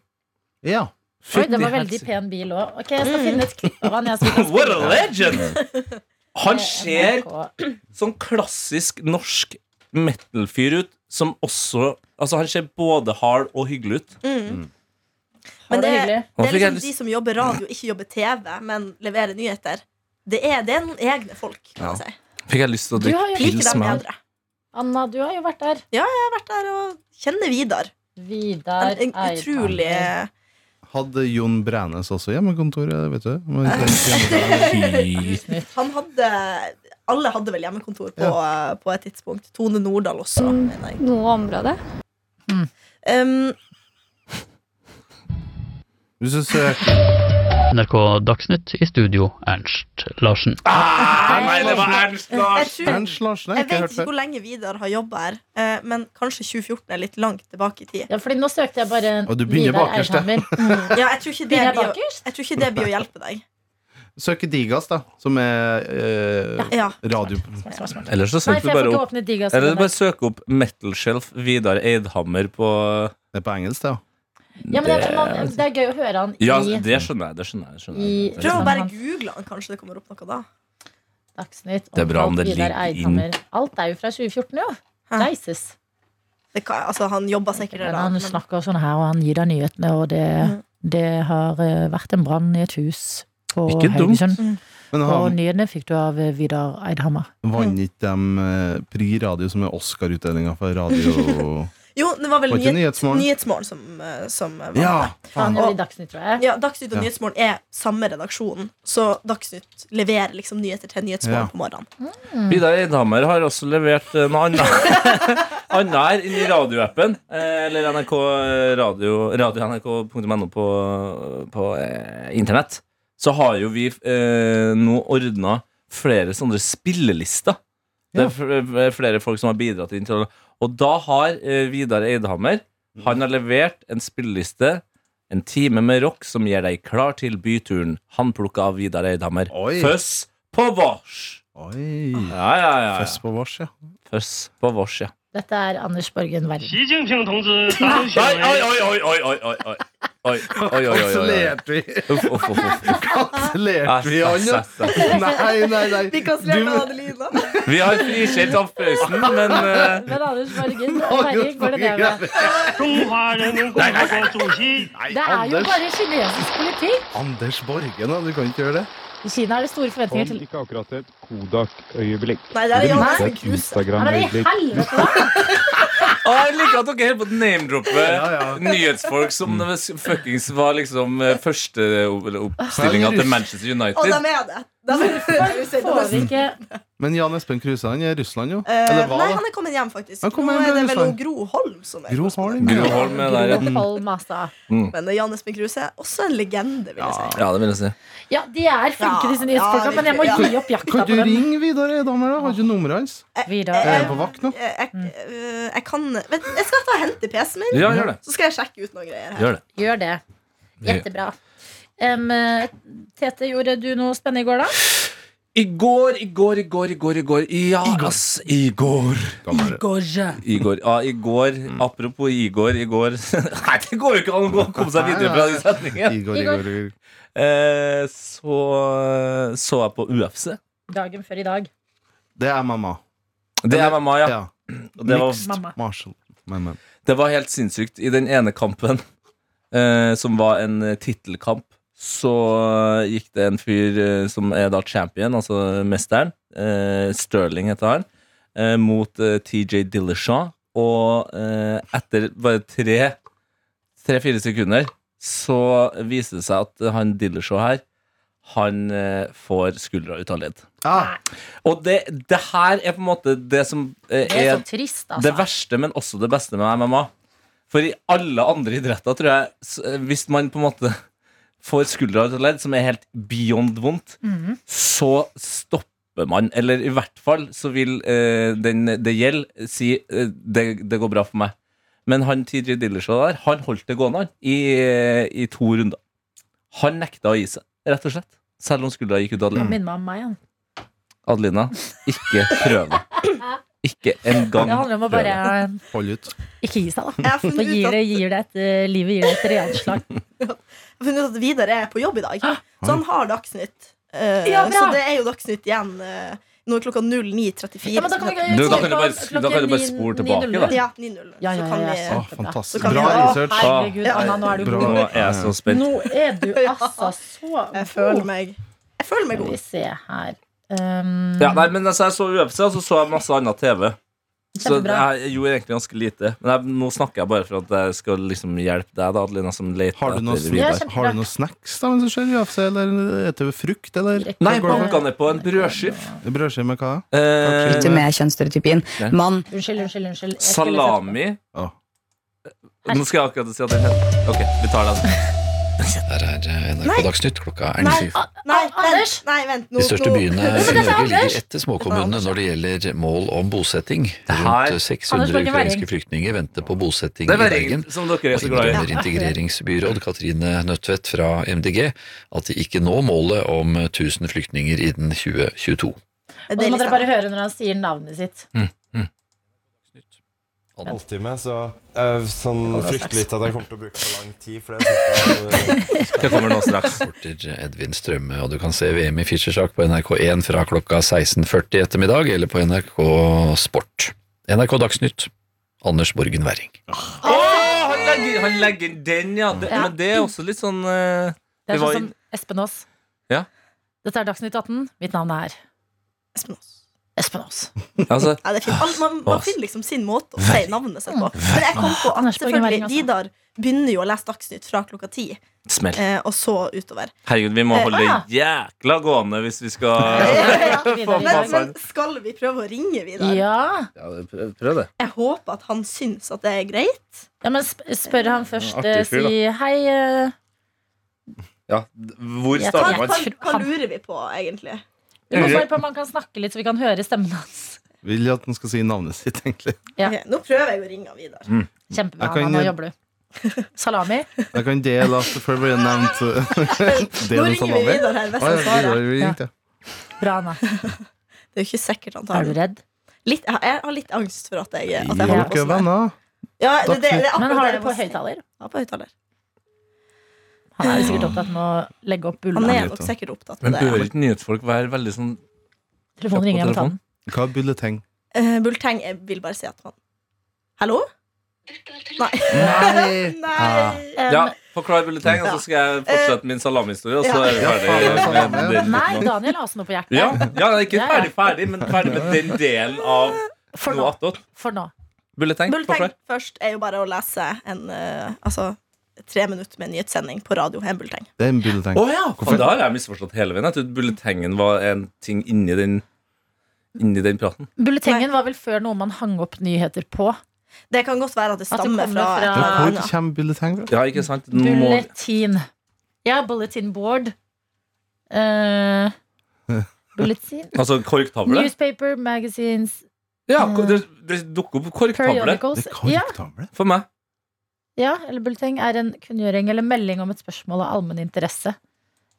E: Ja.
B: Oi, det
C: Fytti
B: var veldig
C: helsike.
B: pen bil òg. Ok, jeg skal
D: Mm.
B: finne et klipp av han. Jeg skal
C: What a legend! Han ser
B: NRK.
C: sånn klassisk norsk metal-fyr ut, som også Altså, han ser både hard og hyggelig ut.
D: Mm.
B: Har
D: Men
B: du
D: det,
B: hyggelig?
D: det
C: Hvorfor
D: er
C: fikk jeg
D: liksom
C: lyst-
D: de som jobber radio, ikke jobber TV, men leverer nyheter. Det er, det er noen egne folk. kan
E: Ja.
D: jeg si.
C: Fikk jeg lyst til å
B: Du har
C: drikke
B: jo
C: pils
D: Liker dem
C: med han.
D: bedre.
B: Anna, du har jo vært der.
D: Jeg har vært der og kjenner Vidar.
B: Vidar
D: En, en utrolig
B: Eidhammer.
E: Hadde Jon Brænes også hjemmekontoret, vet du? Men ikke hjemmekontoret.
D: Han hadde Alle hadde vel hjemmekontor på, eh, på et tidspunkt. Tone Nordahl også, mener jeg.
G: noe område.
D: Um,
E: Hvis du søker
H: NRK Dagsnytt i studio Ernst Larsen.
C: Ah, nei, det var Ernst
D: jeg,
C: Lars!
D: tror,
E: Ernst Larsen,
D: jeg
E: jeg har ikke
D: vet
E: hørt
D: ikke
E: før.
D: hvor lenge Vidar har jobba her, eh, men kanskje 2014 er litt langt tilbake i tid.
B: Ja, fordi nå søkte jeg bare
E: Og du begynner
B: Vidar
E: bakerst, ja.
B: Eidhammer. Mm.
D: Ja, jeg, tror ikke det
B: Begynner jeg
D: blir, å-
B: bakerst?
D: jeg tror ikke det blir å hjelpe deg.
E: Søker Digas, da, som er eh,
D: Ja.
E: radio...
D: Mm.
B: Smart, smart, smart.
C: Eller så
B: Nei,
C: søker
B: for jeg
C: du
B: får
C: bare
B: ikke
C: opp
B: åpne digga.
C: Eller du bare søker opp Metal Shelf Vidar Eidhammer på
E: Det er på engelsk, det, ja.
B: Ja, men det, er, man, det er gøy å høre han i
C: Ja, altså, det skjønner jeg. Det skjønner jeg, det skjønner jeg.
B: I-
C: Det
D: Prøv å
C: skjønner jeg.
D: bare google han, kanskje det kommer opp noe da.
B: Dagsnytt.
C: Det er bra om
B: omtalt
C: det
B: Vidar
C: ligger inn.
B: Eidhammer. Alt er jo fra 2014, jo.
D: Hæ?
B: Deises.
D: Det kan, altså, han jobba sikkert der.
B: Men
D: da,
B: han
D: men- Mm.
B: snakker sånn her, og han gir deg nyhetene, og det, det har eh, vært en brann i et hus på
C: Ikke dumt.
B: Haugesund.
D: Mm.
E: Men
B: Og
E: han
B: nyhetene fikk du av eh, Vidar Eidhammer.
E: vant ikke dem eh, Pri Radio, som er Oscar-utdelinga for radio
D: Jo, det var vel
E: Var ikke
D: nyhet,
E: Nyhetsmorgen?
D: Nyhetsmorgen som, eh, som eh, var
E: Ja!
B: Han
E: Faen.
B: gjorde det i Dagsnytt, tror jeg.
D: Ja, Dagsnytt og
E: Ja.
D: Nyhetsmorgen er samme redaksjon, så Dagsnytt leverer liksom nyheter til Nyhetsmorgen
E: Ja.
D: på morgenen.
C: Vidar Eidhammer har også levert eh, noe annet Annet her inni radioappen. eh, Eller NRK eh, radio, radio nrk.no på, på eh, internett. Så har jo vi eh, nå ordna flere sånne spillelister. Det
E: Ja.
C: er fl- eh, flere folk som har bidratt inn til Og da har eh, Vidar Eidhammer Han har levert en spilleliste. En time med rock som gjør deg klar til byturen. Han plukka av Vidar Eidhammer.
E: Oi.
C: Føss på vars!
E: Oi.
C: Ja, ja, ja. ja.
E: Fest på vårs, ja.
C: Føss på vårs, ja.
B: Dette er Anders Borgen Werring.
H: 习近平同志当选
C: Oi,
H: 为
C: oi, oi, oi, oi, oi, oi, oi. Oi, oi, oi, oi, oi, oi.
E: Kansellerte vi
C: Uff, uff, uff, uff.
E: Kansellerte vi han, ja?
C: Ass, ass, ass.
E: Nei, nei, nei.
D: Vi
E: Du-
D: kansellerte Adelina.
C: Vi har frikjent Alf-Prøysen, men eh,
B: Men Anders Borgen Werring, går det ned med?
H: 中华人民共和国主席
E: Nei,
B: Det er jo
E: Anders-
B: bare kinesisk politikk!
E: Anders Borgen, da. Du kan ikke gjøre det.
B: I Kina er det store forventninger til
I: Sånn, ikke akkurat et Kodak-øyeblikk.
D: Nei, det er
B: Nei.
D: Johansen Kruse.
B: Ja, men i helvete, da!
C: Å, jeg liker at dere helt på name-droppe
E: Ja, ja.
C: nyhetsfolk som det s- fuckings var liksom eh, første o- eller oppstillinga til Manchester
D: Og de
C: United.
D: er det. De er det.
B: Får vi ikke
E: Men Jan Espen Kruse han er i Russland, jo.
D: Eh,
E: Eller hva,
D: nei,
E: da?
D: han er kommet hjem, faktisk.
E: Han kom
D: Nå
E: hjem
D: er
E: fra
D: det vel
E: Russland.
D: Gro Holm som er
E: Gro Holm,
C: Gro Holm er der, ja.
B: Gro Holm, altså.
D: Men Jan Espen Kruse er også en legende, vil jeg si.
C: Ja, det vil jeg si.
B: Ja, de er flinke,
D: Ja,
B: disse
D: ja,
B: nyhetsfolka, men jeg må
D: virkelig, ja.
B: gi opp jakta
E: Kan
B: på
E: du
B: dem.
E: ringe Vidar Eidanger, da? Har du ikke nummeret hans?
B: Eh, Vidar.
E: Er han på vakt nå?
D: Jeg, jeg, eh, jeg kan Vent, jeg skal ta og hente PC-en min,
C: Ja, gjør det.
D: så skal jeg sjekke ut noen greier her.
C: Gjør det.
B: Gjør det. Jettebra. Em, eh, Tete, gjorde du noe spennende i går, da?
C: I går, i går, i går, i går, i går. Ja, ass, i går.
E: Gammel.
C: I går, ja, Ah, i går Apropos Igor, i går Nei, det går jo ikke an å komme seg videre fra den setningen.
E: Igor,
B: Igor.
E: Igor, Igor.
C: Eh, så så jeg på UFC.
B: Dagen før i dag.
E: Det er mamma.
C: Det er MMA, ja.
E: Ja.
C: Og Det var,
B: Mamma.
E: Marshall. Men, men.
C: det var helt sinnssykt. I den ene kampen, eh, som var en eh, tittelkamp, så eh, gikk det en fyr eh, som er da champion, altså mesteren, eh, Sterling heter han, eh, mot eh, TJ Dillashaw. Og eh, etter bare tre tre-fire sekunder så viser det seg at han Dillashaw her, han eh, får skuldra ut av ledd.
E: Ah,
C: Og det, det her er på en måte det som eh,
B: Det er
C: er
B: så trist,
C: det
B: altså.
C: verste, men også det beste med MMA. For i alle andre idretter, tror jeg, s- hvis man på en måte får skuldra ut av ledd, som er helt beyond vondt,
B: Mhm.
C: så stopper man. Eller i hvert fall så vil eh, den det gjelder, si eh, det, 'det går bra for meg'. Men han TJ Dillashaw der, han holdt det gående, han, i, eh, i to runder. Han nekta å gi seg, rett og slett. Selv om skuldra gikk ut av ledd.
B: Minner meg om meg igjen.
C: Adelina, ikke prøve. Ikke engang
B: Det handler om å bare
E: hold ut.
B: ikke gi seg, da.
D: Jeg har
B: Så
D: funnet ut
B: gir
D: at,
B: det, gir det et, eh, livet gir det et realslag.
D: jeg har funnet ut at Vidar er på jobb i dag, så han har Dagsnytt. Eh,
B: Ja, bra.
D: så det er jo Dagsnytt igjen eh, nå er klokka 09.34.
B: Ja, men da kan vi
C: Du, da kan du bare- da kan du bare spole tilbake, da.
D: Ja, 9.00.
B: Ja, ja,
D: så
B: ja,
D: kan
B: ja,
D: vi
E: Ah,
B: sant. Kjempebra.
D: Så
E: fantastisk.
D: kan vi-
E: Bra
D: Å,
E: research.
B: Herregud, Anna, nå er du
E: Bra.
B: god.
C: Nå er jeg så spent.
B: Nå er du altså så god.
D: Jeg føler meg Jeg føler meg
B: Skal vi
D: god.
B: se her um,
C: Ja, nei, men altså, Jeg så UFC, og så så jeg masse annet TV. Så
B: Kjempebra.
C: jeg gjorde egentlig ganske lite. Men jeg, nå snakker jeg bare for at jeg skal liksom hjelpe deg, da, Adelina, som leter
E: Har du noe,
C: etter
B: Ja,
E: snak-
C: Vidar.
B: kjempebra.
E: har du noe snacks da, mens du ser UFC, eller etter frukt, eller?
B: Rekker
C: Nei,
B: du bare-
C: banka ned på en brødskive.
E: Brødskive med hva?
C: Eh,
E: Ikke
F: med kjønnsstereotypien.
C: Nei.
F: Mann.
B: Unnskyld, unnskyld. unnskyld. Jeg skulle sett
C: salami.
E: Å.
C: Nå skal jeg akkurat si at det heter Ok, vi tar den.
G: Her er eh,
D: Nei.
G: NRK Dagsnytt klokka er
D: Nei,
G: 07.
D: nei,
B: Ah,
D: vent,
B: Anders!
D: nei, vent nå,
G: De største
D: nå-
G: byene
D: Men
G: i
D: dette er
G: Norge
D: Anders!
G: ligger etter småkommunene når det gjelder mål om bosetting.
C: her-
G: Rundt
B: Anders
G: 600
B: Borgen
G: ukrainske
B: Werring.
G: flyktninger venter på bosetting
C: Det
G: i
C: er
G: Bergen.
C: regelen som dere er
G: Og
C: så glad i.
G: innrømmer integreringsbyråd Katrine Nødtvedt fra MDG at de ikke når målet om 1000 flyktninger innen 2022.
B: Og så
D: Det er
B: må dere
D: liksom-
B: bare høre når han sier navnet sitt.
J: En halvtime, så jeg er sånn frykter litt at jeg kommer til å bruke for lang tid. For det er sånn-
C: Det kommer nå straks.
G: Reporter Edvin Strømme, og du kan se VM i Fischersak på NRK1 fra klokka 16.40 i ettermiddag, eller på NRK Sport. NRK Dagsnytt, Anders Borgen Werring.
C: Å, han, legger, han legger den, ja. Det,
B: Ja.
C: Men det er også litt sånn eh,
B: Det er
C: Det var
B: sånn som Espen Aas.
C: Ja.
B: Dette er Dagsnytt 18. Mitt navn er
D: Espen Aas.
B: Espen Aas.
C: Altså,
D: Ja, det er fint. Alle- man, man finner liksom sin måte å si navnet sitt på. Men jeg kom på at
B: Anders Borgen Werring,
D: selvfølgelig
B: altså.
D: Vidar begynner jo å lese Dagsnytt fra klokka ti,
C: smell.
D: eh, og så utover.
C: Herregud, vi må
D: Eh,
C: holde det jækla gående hvis vi skal
B: Vidar
D: Men,
B: Vidar.
D: men skal vi prøve å ringe Vidar?
B: Ja.
C: Ja, prøv, prøv det.
D: Jeg håper at han syns at det er greit.
B: ja, men sp- spør han først.
C: Artig
B: eh,
C: fyr, da.
B: Si hei. eh,
C: Ja, d- hvor
B: Jeg
C: starter
B: tar-
C: man?
D: Hva,
B: tror-
D: hva
B: han-
D: lurer vi på, egentlig?
B: Vi
C: Mm.
B: må svare på om han kan snakke litt, så vi kan høre stemmen hans.
E: Vil at han skal si navnet sitt, egentlig.
B: Ja.
D: Ok, nå prøver jeg å ringe han Vidar.
B: Kjempebra.
E: Jeg kan-
B: Nå jobber du. Salami.
E: Jeg kan dele at det før ble nevnt eh,
D: Nå
E: delen
D: ringer vi altså,
E: salami.
D: Vidar her. hvis
E: Å,
D: han
E: ja,
D: svarer.
E: Vidar, vi ringte.
B: Bra, Anna.
D: Det er jo ikke sikkert han tar
B: Er du
D: den.
B: redd?
D: Litt, jeg har- jeg har litt angst for at jeg, at altså, jeg
E: Gi
D: har
E: dere venner.
D: Ja, det, det, det er
B: Men
D: akkurat
B: har
D: jeg
B: du
D: må
B: på
D: si.
B: høyttaler?
D: Ja, på høyttaler.
B: Han er jo sikkert opptatt med å legge opp
D: Han
B: bulla.
D: er nok sikkert opptatt
C: Mm. Men
D: av det.
C: bør ikke nyhetsfolk være veldig sånn
B: Telefonen ringer, jeg må ta den.
E: Hva er bulleteng?
D: Eh, Bulteng jeg vil bare si at han Hallo? Nei.
C: Ah,
D: Nei.
B: Eh,
C: Ja, forklar bulleteng, og så skal jeg fortsette min salamihistorie, og så er vi
E: Ja. Ja, faen,
C: ferdig.
E: salami, ja.
C: med den
B: sånn. Nei,
C: biten nå.
B: Daniel har også noe på hjertet.
C: Ja, ja, ikke
B: Ja, ja.
C: ferdig, ferdig, men ferdig med den delen av
B: For
C: noe
B: nå.
C: attåt.
B: For nå.
C: Bulleteng,
D: Bulteng
C: forklar.
D: først er jo bare å lese en eh, Altså tre minutter med nyhetssending på radio. En bulteng.
E: Det er en bulleteng.
C: Å ja, faen, det har jeg misforstått hele veien. Jeg trodde bulletengen var en ting inni den inni den praten.
B: Bulletengen var vel før noe man hang opp nyheter på.
D: Det kan godt være at det
B: At det
D: stammer
B: kommer
D: fra,
B: fra-
D: et
E: Ja,
D: eller
E: hvor
D: annet.
E: kommer bulleteng fra?
C: Ja, ikke sant? Nå må,
B: Bulletin. Ja, bulletin board. Eh, bulletin
C: altså korktavle?
B: Newspaper, magazines,
C: Ja, ko- det, det dukker opp korktavle
B: periodicals.
E: Det er
B: Ja,
E: korktavle.
C: for meg.
B: ja, eller bulleting er en kunngjøring eller melding om et spørsmål av allmenn interesse.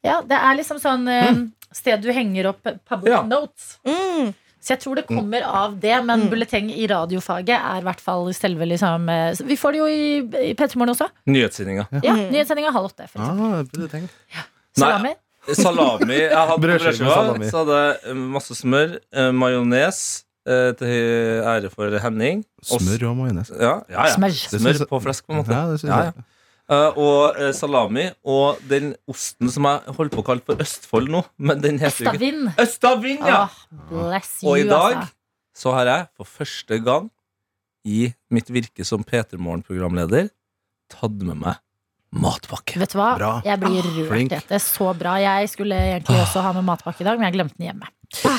B: Ja, det er liksom sånn eh, sted du henger opp public
C: Hmm. Ja.
B: notes.
D: Mm.
B: Så jeg tror det kommer av det,
C: Mm.
B: men bulleteng i radiofaget er i hvert fall selve liksom eh, så Vi får det jo i, i P3 Morgen også.
C: Nyhetssendinga.
B: Ja,
D: Mm.
B: Nyhetssendinga halv åtte. for eksempel.
E: Ah, bulleteng.
B: Salami.
C: Salami. Jeg hadde
E: Brødskive med
C: brødskiva,
E: salami.
C: så hadde jeg masse smør, eh, majones eh, til ære for Henning. og s-
E: Smør og majones.
C: Ja, ja, ja.
B: Smør.
E: Det
C: Smør
E: synes jeg-
C: på flesk, på en måte.
E: Ja, det synes
C: Ja,
E: jeg.
C: Eh, og eh, salami. Og den osten som jeg holder på å kalle for Østfold nå, men den heter jo ikke
B: Stavin.
C: Østavind, ja!
B: Ah, bless you,
C: Og i dag
B: altså.
C: så har jeg for første gang i mitt virke som P3 Morgen-programleder tatt med meg matpakke.
B: Vet du hva?
E: Bra.
B: Jeg
C: Ah,
B: blir rørt.
E: flink.
B: Dette er så bra. Jeg skulle egentlig også ha med matpakke i dag, men jeg glemte den hjemme.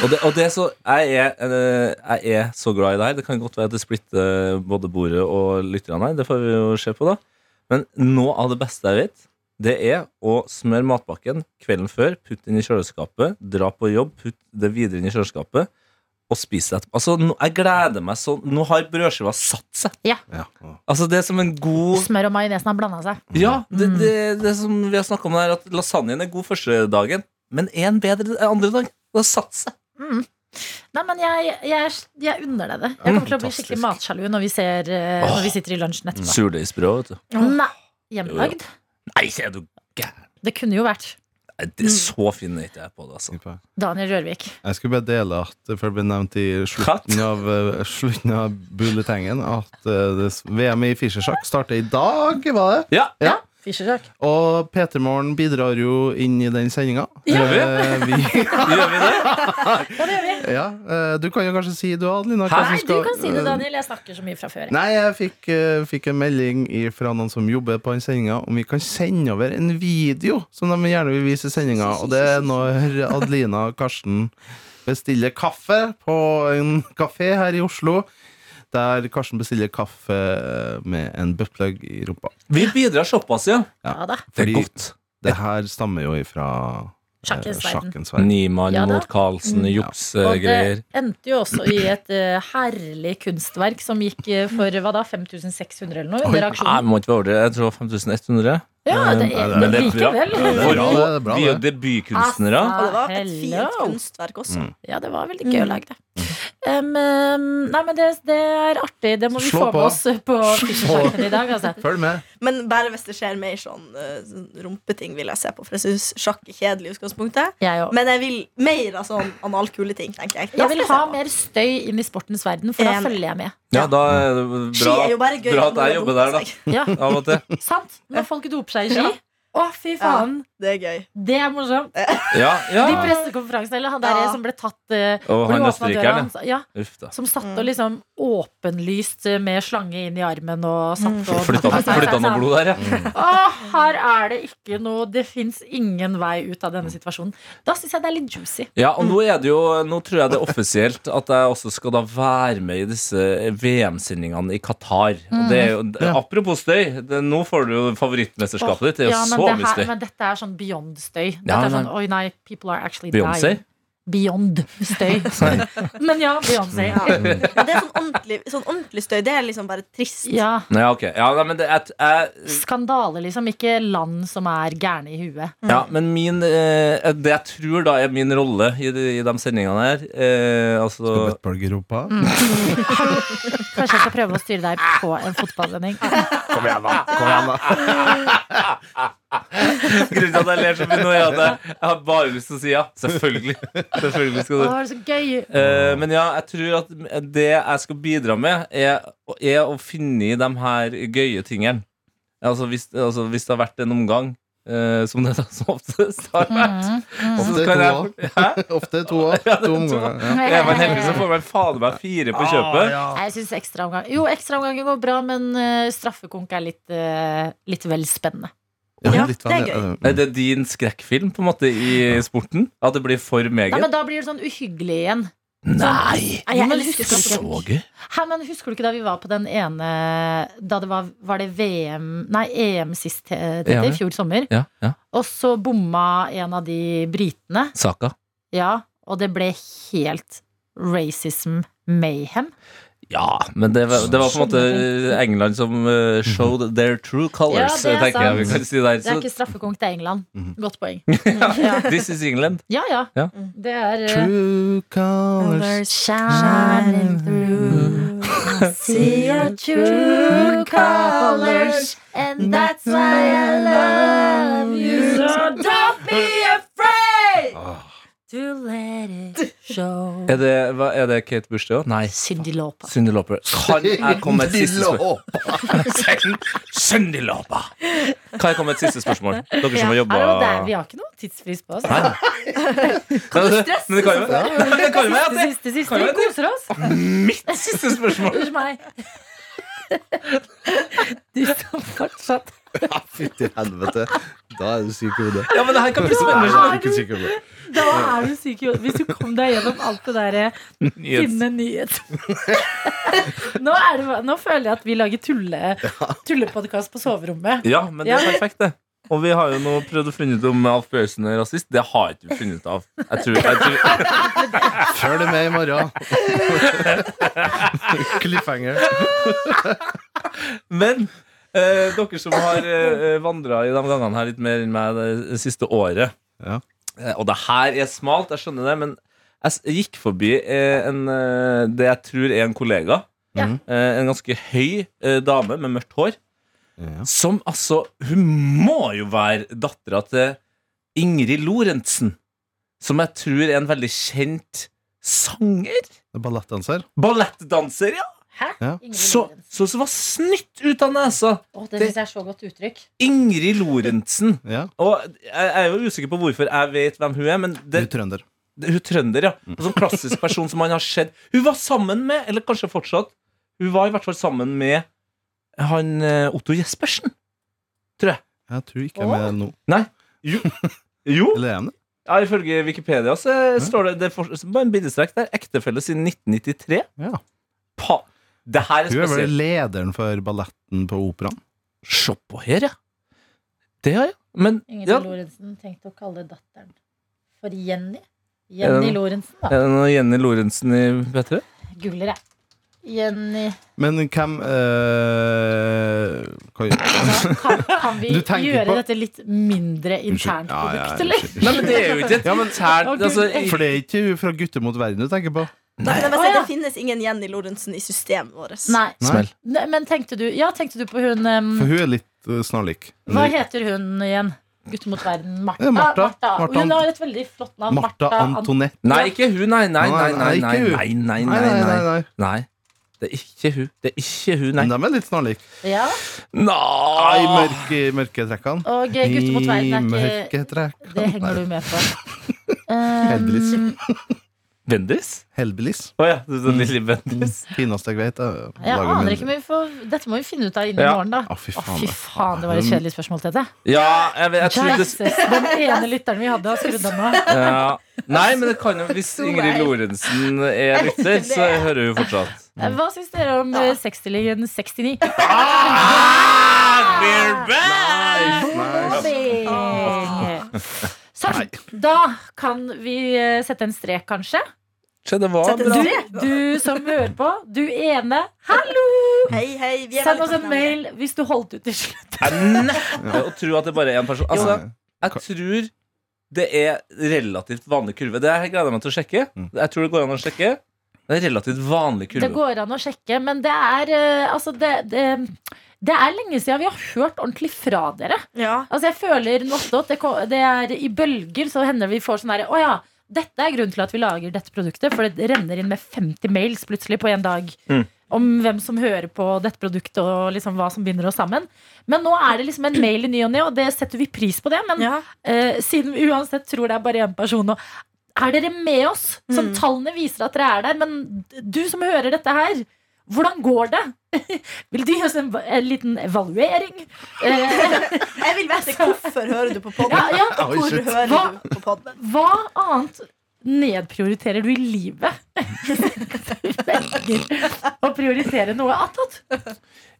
C: Og det, og det er så, jeg, er, eh, jeg er så glad i det her. Det kan godt være at det splitter eh, både bordet og lytterne her. Det får vi jo se på, da. Men noe av det beste jeg vet, det er å smøre matpakken kvelden før, putte den i kjøleskapet, dra på jobb, putte det videre inn i kjøleskapet, og spise det etterpå. Altså, nå, jeg gleder meg sånn. Nå har brødskiva satt seg.
E: Ja.
C: Altså, det er som en god
B: Smør og majonesen har blanda seg.
C: Ja, det, det, det som vi har snakka om, er at lasagnen er god første dagen, men er en bedre den andre dag. Det har satt seg.
B: Nei, men jeg, jeg, jeg unner deg det. Jeg kommer til å bli
C: fantastisk.
B: skikkelig matsjalu når vi, ser, eh, når vi sitter i lunsjen etterpå.
C: Surdeigsbrød, vet du.
B: Nei, hjemmelagd.
C: Nei, er du gæren?
B: Det kunne jo vært
C: Nei, Det er
B: Mm.
C: så fin ikke jeg på det, altså.
B: Daniel Rørvik.
E: Jeg skulle bare dele at det før ble nevnt i slutten
C: Katt?
E: av, eh, slutten av bulletengen at eh, det, VM i fischersjakk starter i dag, var det?
C: Ja,
E: Ja.
B: Fischerøk.
E: Og P3 Morgen bidrar jo inn i den sendinga. Eh,
C: Gjør vi?
E: vi
C: gjør vi det?
E: Ja, eh, du kan jo kanskje si du, Adelina. hva som
B: Nei, du
E: Altså, skal- Øh.
B: kan si det, Daniel. Jeg snakker så mye fra før. jeg.
E: Nei, jeg fikk, eh, fikk en melding fra noen som jobber på den sendinga, om vi kan sende over en video som de gjerne vil vise i sendinga. Og det er når Adelina og Karsten bestiller kaffe på en kafé her i Oslo. Der Karsten bestiller kaffe med en buttplug i rumpa.
C: Vi bidrar såpass, ja.
B: Ja da.
C: Det er
E: Fordi
C: godt.
E: det her stammer jo ifra eh,
B: Sjakkens verden.
E: sjakkens verden.
C: Niemann
B: Ja da.
C: mot Carlsen,
E: Mm.
B: Og
C: juksegreier.
B: det endte jo også i et eh, herlig kunstverk som gikk eh, for hva da, 5600 eller noe under
C: Nei,
B: aksjonen.
C: må ikke være over det. Jeg tror 5100.
B: Ja, det er,
E: Nei,
B: men
C: det er bra.
B: likevel.
E: Ja, det er bra, det. det er bra,
C: Vi er jo
E: det.
C: debutkunstnere.
B: Altså.
D: Og det var et
B: Hello.
D: fint kunstverk også.
E: Mm.
B: Ja, det var veldig gøy å lage det. Um, um, nei, men det, det er artig. Det må vi
E: Slå
B: få med
E: på.
B: oss på Fischersaken i dag. Altså.
E: Følg med.
D: Men bare hvis det skjer mer sånn eh, sånn rumpeting, vil jeg se på. For jeg syns sjakk er kjedelig i utgangspunktet.
B: Jeg, òg.
D: Men jeg vil mer av sånn analkule ting, tenker jeg.
B: jeg vil
D: Det skal
B: ha
D: se på.
B: mer støy inn i sportens verden, for da
D: Enig.
B: følger jeg med.
C: Ja, da er det bra,
D: Ski er jo bare gøy
C: bra
D: når
C: at jeg
D: man
C: jobber
D: doper
C: der, da.
D: seg.
B: Ja,
C: Av og til.
B: sant? Når folk doper seg i ski.
D: Ja.
B: Å, fy faen!
D: Det er gøy.
B: Det er morsomt.
C: Ja, ja.
B: De pressekonferansene, eller han der
D: Ja.
B: som ble tatt eh,
C: Og
B: hvor
C: han
B: du åpnet døra,
C: østerrikeren,
B: han sa- ja.
C: ja. Uff da.
B: Som satt og liksom åpenlyst med slange inn i armen og satt og
C: Flytta noe flytta noe blod der, ja.
B: Å, her er det ikke noe Det fins ingen vei ut av denne situasjonen. Da syns jeg det er litt juicy.
C: Ja, og nå er det jo Nå tror jeg det er offisielt at jeg også skal da være med i disse VM-sendingene i Qatar. Og det er jo, apropos støy, det, nå får du jo favorittmesterskapet ditt. Det er jo
B: Ja, men,
C: så
B: det
C: mye
B: her,
C: støy.
B: men dette er sånn beyond støy. Dette
C: Ja,
B: er sånn,
C: nei.
B: Oi, nei, people are actually
C: Beyoncé?
B: dying. Beyond støy. men ja, Beyoncé.
D: Ja. Men det er sånn ordentlig, sånn ordentlig støy. Det er liksom bare trist.
B: Ja.
C: Nei, ok. Ja, nei, men det jeg- jeg
B: Skandale, liksom. Ikke land som er gærne i huet.
C: Ja, men min eh, Det jeg tror da er min rolle i de, i de sendingene her eh, Altså
E: Buttplug i rumpa.
B: Kanskje jeg skal prøve å styre deg på en fotballsending.
E: Kom igjen, da. Kom igjen, da.
C: Grunnen til at jeg ler så mye nå, er at jeg, jeg har bare lyst til å si ja. Selvfølgelig. Selvfølgelig
B: Å,
C: skal du
B: det er så gøy!
C: Eh, men ja, jeg tror at det jeg skal bidra med, er, er å finne i de her gøye tingene. Altså hvis, altså hvis det har vært en omgang, eh, som det da som oftest har
B: Mm.
C: vært så
E: Ofte
C: kan
E: to
C: jeg, Hæ?
E: Ofte to år. To omganger. Ja.
C: Er man heldig, så får man fader meg fire på kjøpet.
B: Nei, Jeg syns ekstraomgang Jo, ekstraomganger går bra, men eh, straffekonk er litt, eh, litt vel spennende.
D: Ja,
E: litt
D: det er
E: vanlig.
D: gøy.
C: Er det din skrekkfilm på en måte i sporten? At det blir for
B: Nei,
C: meget?
B: men Da blir det sånn uhyggelig igjen.
C: Nei!
D: Nei, jeg
B: Men
D: elsker
B: husker du
D: Skotland.
C: Så gøy.
B: Hæ, men Husker du ikke da vi var på den ene Da det var, var det VM Nei, EM sist, eh, Tete,
C: Ja, ja.
B: i fjor sommer.
C: Ja, ja.
B: Og så bomma en av de britene.
C: Saka.
B: Ja, og det ble helt racism mayhem.
C: Ja, men det var, det var på en måte England som eh, showed their true colors,
B: Ja, det er
C: tenker jeg vi
B: sant.
C: kan si der.
B: Det er
C: Så,
B: ikke straffekonk, det er England. Godt poeng.
C: ja. This is England.
B: Ja ja.
C: Ja.
B: Det er eh,
E: True colors
B: Shining through, I see your true colors, and that's why I love you. So don't be afraid to let it show.
C: Er det, hva, er det Kate Bush, det òg? Nei.
B: Cyndi Lauper.
C: Cyndi Lauper. Kan jeg komme med et siste spørsmål? Cyndi Lauper! Kan jeg komme med et siste spørsmål? Dere som har
B: Ja.
C: jobba
B: Er det noe der? Vi har ikke noe tidsfrist på oss.
C: Kan du stresse? Men det kan jo men det kan jo være at
B: Siste,
C: det
B: siste, siste.
C: Kan vi
B: Vi
C: det?
B: koser oss.
C: mitt siste spørsmål.
B: Unnskyld meg. Du står fortsatt
E: Fytti helvete. Da er du syk i hodet.
C: Ja, men det her kan bli
E: Nei,
C: spennende.
E: jeg er ikke syk i hodet.
B: Da er du syk i hodet. Hvis du kom deg gjennom alt det derre finne nyhet. nå, er det, nå føler jeg at vi lager tulle tullepodkast på soverommet.
C: Ja, men det er perfekt, det. Og vi har jo nå prøvd å finne ut om Alf Bjørsen er rasist. Det har ikke vi funnet ut av. Jeg tror, jeg tror,
E: Følg med i morgen. Cliffhanger.
C: Men eh, dere som har eh, vandra i de gangene her litt mer enn meg det, siste året
E: Ja.
C: eh, Og det her er smalt, jeg skjønner det, men jeg s- gikk forbi eh, en, eh, det jeg tror er en kollega.
B: Ja.
E: Mhm.
C: Eh, en ganske høy eh, dame med mørkt hår.
E: Ja.
C: Som altså Hun må jo være dattera til Ingrid Lorentzen. Som jeg tror er en veldig kjent sanger.
E: Det er Ballettdanser.
C: Ballettdanser, ja!
B: Hæ?
E: Ja.
B: Ingrid
C: Så,
B: Lorentzen.
C: så som var snytt ut av nesa.
B: Å, det syns jeg er så godt uttrykk.
C: Ingrid Lorentzen.
E: Ja.
C: Og jeg er jo usikker på hvorfor jeg vet hvem hun er, men
E: Du
C: det,
E: er trønder.
C: det, hun er trønder, ja. En sånn klassisk person som man har sett. Hun var sammen med, eller kanskje fortsatt, hun var i hvert fall sammen med han eh, Otto Jespersen.
E: Jeg tror ikke jeg er med nå.
C: Jo. jo.
E: Eller er jeg med?
C: Ja, ifølge Wikipedia så står det, det er for, bare en bildestrek der. Ektefelle siden 1993.
E: Ja.
C: Pa. Det her er
E: Hun er vel
C: spesielt.
E: lederen for balletten på operaen.
C: Se på her, ja. Det har jeg. Men
B: Ingrid
C: ja,
B: Lorentzen tenkte å kalle datteren for Jenny.
C: Er
B: Jenny
C: det-
B: Lorentzen, da.
C: er det noe Jenny Lorentzen i P3?
B: Googler jeg. Jenny
E: Men hvem eh, hva-
B: Kan, kan vi
E: Du tenker
B: gjøre
E: på-
B: dette litt mindre internt
E: Ja, ja,
B: produkt, eller?
E: unnskyld.
C: Nei, men det er jo ikke et internt
B: Å, Gud.
C: altså, i-
E: For det er ikke hun fra Gutter mot verden du tenker på?
D: Men jeg må si,
B: Å, ja.
D: det finnes ingen Jenny Lorentzen i systemet vårt.
B: Nei.
E: Nei.
C: Smell.
B: Nei, Men tenkte du Ja, tenkte du på hun
E: For
B: um,
E: hun er litt eh, snarlik.
B: Hva heter hun igjen? Gutter mot verden. Martha.
E: Eh, Martha.
B: Martha.
E: Martha
B: Hun
E: Ant-
B: har et veldig flott navn.
E: Martha
B: Ant-
E: Antoinette.
C: Nei, ikke hun, nei, nei, nei,
E: Nei,
C: nei,
E: nei,
C: nei,
E: ikke
C: nei,
E: hun.
C: nei, nei, nei, nei. Det er ikke hun, det er ikke hun, nei.
E: Men de er litt snarlike.
B: Ja.
E: I
C: Nei,
E: mørke, mørke trekkene.
B: Og eh, gutter mot verden
E: I
B: er ikke
E: mørke trekk.
B: Det henger du med på.
E: Heldigvis.
B: Um,
C: Vendris?
E: Heldigvis.
C: Åja, det er sånn lille Vendris.
E: Fineste jeg vet. eh, er å
B: jeg
E: lage
B: aner
E: mindre.
B: ikke, men vi får, dette må vi finne ut av innen i
C: Ja.
B: morgen, da.
E: Å, fy
B: Å,
E: faen.
B: fy faen, det var et kjedelig spørsmål, Tete.
C: Mm. Ja, jeg vet, jeg tror det...
B: Jesus, Den ene lytteren vi hadde, har skrudd av nå.
C: Ja. Nei, men det kan jo, hvis Ingrid Lorentzen er lytter, så hører hun fortsatt.
B: Hva syns dere om eh, sexstillingen 69?
C: Ah, we're back!
B: Bobbing! Sånn. Da kan vi eh, sette en strek, kanskje.
C: Skje, det var
D: Sette
C: bra.
D: strek.
B: Du, du som hører på, du ene. Hallo!
D: Hei, hei, vi er
B: Send oss en
D: velkomne.
B: mail hvis du holdt ut til slutt.
C: Jeg nekter å tro at det bare er en person. Altså, Jeg tror det er relativt vanlig kurve. Det her gleder jeg meg til å sjekke.
E: Mm.
C: Jeg tror det går an å sjekke. Det er relativt vanlig
B: Det
C: kurve.
B: går an å sjekke, men det er eh, Altså, det, det, det er lenge siden vi har hørt ordentlig fra dere.
D: Ja.
B: Altså, jeg føler nå også at det, ko- det er i bølger, så hender det vi får sånn derre Å ja, dette er grunnen til at vi lager dette produktet, for det renner inn med 50 mails plutselig på én dag.
C: Mm.
B: Om hvem som hører på dette produktet, og liksom hva som binder oss sammen. Men nå er det liksom en mail i ny og ne, og det setter vi pris på det. Men
D: Ja.
B: eh, siden vi uansett tror det er bare én person og er dere med oss? Som
D: Mm.
B: tallene viser at dere er der. Men d- du som hører dette her, hvordan går det? Vil du gi oss en, va- en liten evaluering? Eh,
D: Jeg vil vite hvorfor hører du på podden
B: ja, ja.
E: Oi,
D: Hvor
E: shit.
D: hører
B: Hva?
D: du på podden
B: Hva annet nedprioriterer du i livet? Velger å prioritere noe attåt.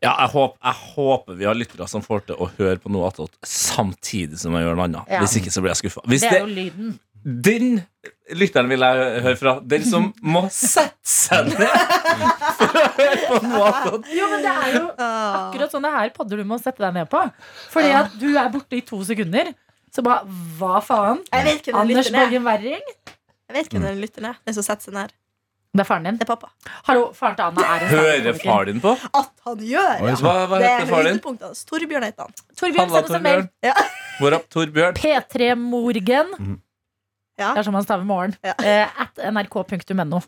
C: Ja, jeg, håp, jeg håper vi har lyttere som får til å høre på noe attåt samtidig som jeg gjør noe annet.
B: Ja.
C: Hvis ikke så blir jeg skuffa. Hvis
B: Det
C: det,
B: er jo lyden.
C: den lytteren vil jeg hø- høre fra. Den som må sette seg ned for å høre på noe attåt.
B: Jo, men det er jo
D: Ah.
B: akkurat sånne her podder du må sette deg ned på. Fordi at du er borte i to sekunder. Så bare hva faen?
D: Jeg vet hvem den
B: Anders
D: lytter ned.
B: Borgen Werring?
D: Jeg vet hvem den lytter ned. Den som setter seg ned.
B: Det er faren din.
D: Det er pappa.
B: Hallo, faren til Anna er en
C: Hører
B: standup-komiker.
C: far din på?
D: At han gjør!
E: Oi,
D: Ja.
C: Hva, hva
D: Det er
C: heter far din?
D: høydepunktet hans. Torbjørn heter han.
B: Torbjørn,
C: Halla,
B: send oss en mail.
C: Torbjørn. Hvorav Torbjørn?
B: P3 Morgen.
C: Mhm.
D: Ja.
B: Det er som han staver morgen.
D: Ja.
B: Eh, at nrk.no.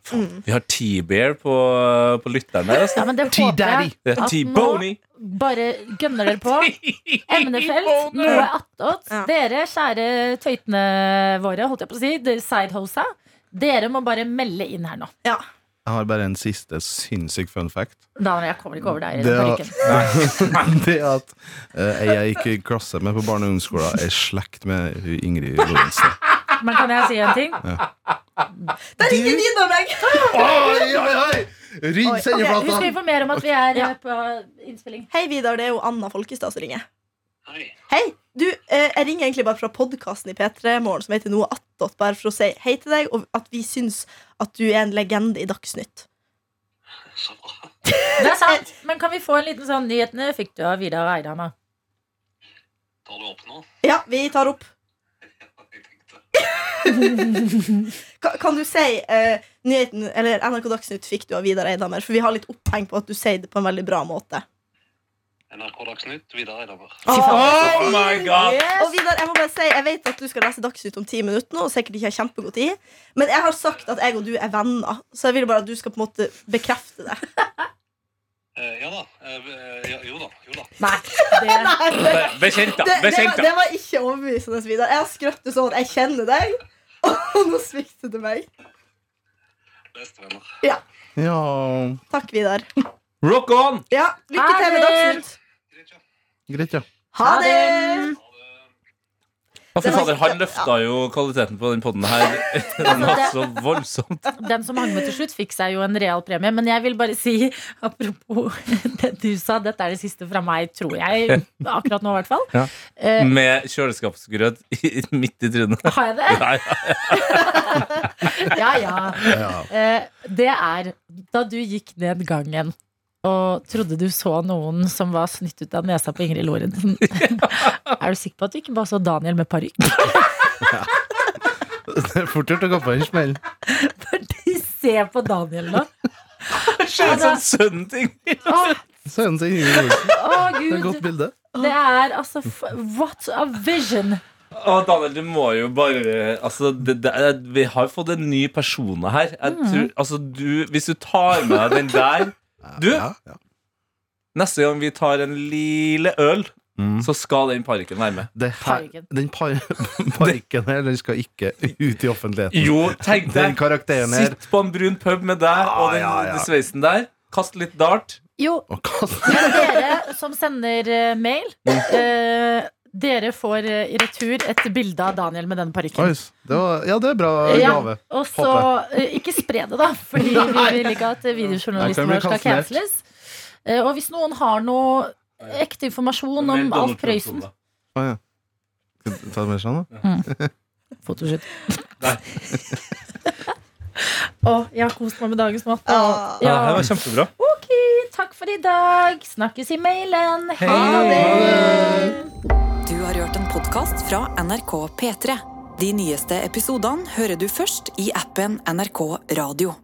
C: Vi har T-Bear på, på lytteren der. Altså.
B: Ja, men det håper jeg.
C: Det er
B: At
C: T-Boney.
B: Bare gønner dere på. Emnefelt, noe attåt.
D: Ja.
B: Dere kjære tøytene våre, holdt jeg på å si, dere sidehosa. Dere må bare melde inn her nå.
D: Ja.
E: Jeg har bare en siste sinnssyk fun fact.
B: Da jeg kommer ikke over der i
E: Det
B: den
E: er-
B: parykken.
E: Det at eh, ei jeg gikk i klasse med på barne- og ungdomsskolen, er slekt med Ingrid Lorentzen.
B: Men kan jeg si en ting?
D: Der ringer Nina meg!
E: Oi, oi, oi! Rydd
B: Vi skal informere om at vi er eh, på innspilling.
D: Hei, Vidar. Det er jo Anna Folkestad som ringer. Hei. Du, eh, jeg ringer egentlig bare fra podkasten i P3 Morgen som heter Noe attåt, bare for å si hei til deg, og at vi syns at du er en legende i Dagsnytt.
B: Det er sant. Men kan vi få en liten sånn Nyhetene fikk du av Vidar Eidhammer.
D: Ja, vi tar opp. Ka- Kan du si eh, nyheten, eller NRK Dagsnytt fikk du av Vidar Eidhammer? For vi har litt oppheng på at du sier det på en veldig bra måte.
F: NRK Dagsnytt, Vidar Eidamer.
C: Oh my god!
D: Og Vidar, jeg må bare si, jeg vet at du skal lese Dagsnytt om ti minutter nå, og sikkert ikke har kjempegod tid, men jeg har sagt at jeg og du er venner, så jeg vil bare at du skal på en måte bekrefte det.
F: Eh, ja da. Eh, ja, jo da. Jo da.
B: Nei, det,
C: Be- Bekjent, da.
D: Det, det,
C: Bekjent,
D: var,
C: da.
D: det var ikke overbevisende, Vidar. Jeg har skrøtt sånn at jeg kjenner deg, og nå svikter du meg.
F: Bestevenner.
E: Ja.
D: Takk, Vidar.
C: Rock on!
D: Ja, lykke til med
B: Ha det!
D: Dagsnytt.
F: Greit, ja.
E: Greit, ja.
D: Ha
B: Ha
D: det!
B: det!
C: Å, fy
D: Det var
C: fader, Han
D: ikke-
C: løfta jo kvaliteten på den poden her Den var så voldsomt.
B: den som hang med til slutt, fikk seg jo en real premie. Men jeg vil bare si, apropos det du sa, dette er det siste fra meg, tror jeg. Akkurat nå, i hvert fall.
C: Ja.
B: Eh,
C: Med kjøleskapsgrøt i- midt i trynet.
B: har jeg det?
C: Nei,
B: Ja, ja. Eh, det er da du gikk ned gangen og trodde du så noen som var snytt ut av nesa på Ingrid Lorentzen. er du sikker på at du ikke bare så Daniel med parykk?
E: Det er fort gjort å gå på en smell.
B: Se på Daniel nå.
C: det skjer en sånn sønnen-ting.
E: Så er den til Ingrid Lorentzen.
B: Altså, Å,
E: Det er et
B: gud.
E: godt bilde.
B: Det er altså f What a vision!
C: Å, Daniel, du må jo bare Altså, det, det, er- vi har fått en ny persone her. Jeg
D: Mm.
C: tror, altså, du, hvis du tar med deg den der Du,
E: Ja, ja.
C: neste gang vi tar en lille øl,
E: Mm.
C: så skal den parykken være med.
E: Det her,
B: Fargen.
E: den par parken her, den skal ikke ut i offentligheten.
C: Jo, tenk
E: Den
C: deg.
E: karakteren her.
C: Sitt på en brun pub med deg og den,
E: ja, ja.
C: den sveisen der. Kast litt dart.
B: Jo,
E: Å, kast-
B: Men dere som sender eh, mail,
E: Mm.
B: eh, dere får eh, i retur et bilde av Daniel med den
E: Oi,
B: parykken.
E: det var, ja, det er bra
B: Ja,
E: gave.
B: og så eh, ikke spre det, da, fordi vi vil ikke at eh,
E: Jeg kan
B: videojournalisten
E: bli
B: vår skal
E: kansellert.
B: canceles. Eh, Og hvis noen har noe ekte informasjon om Alf Prøysen
E: Skal du Ta det med sånn, da.
B: Fotoshoot.
C: Nei.
B: Å, jeg har kost meg med dagens mat.
D: Ah.
C: Ja. Det
B: Ja.
C: var kjempebra.
B: Ok, takk for i dag. Snakkes i mailen.
C: Ha det.
A: Du har hørt en podkast fra NRK P3. De nyeste episodene hører du først i appen NRK Radio.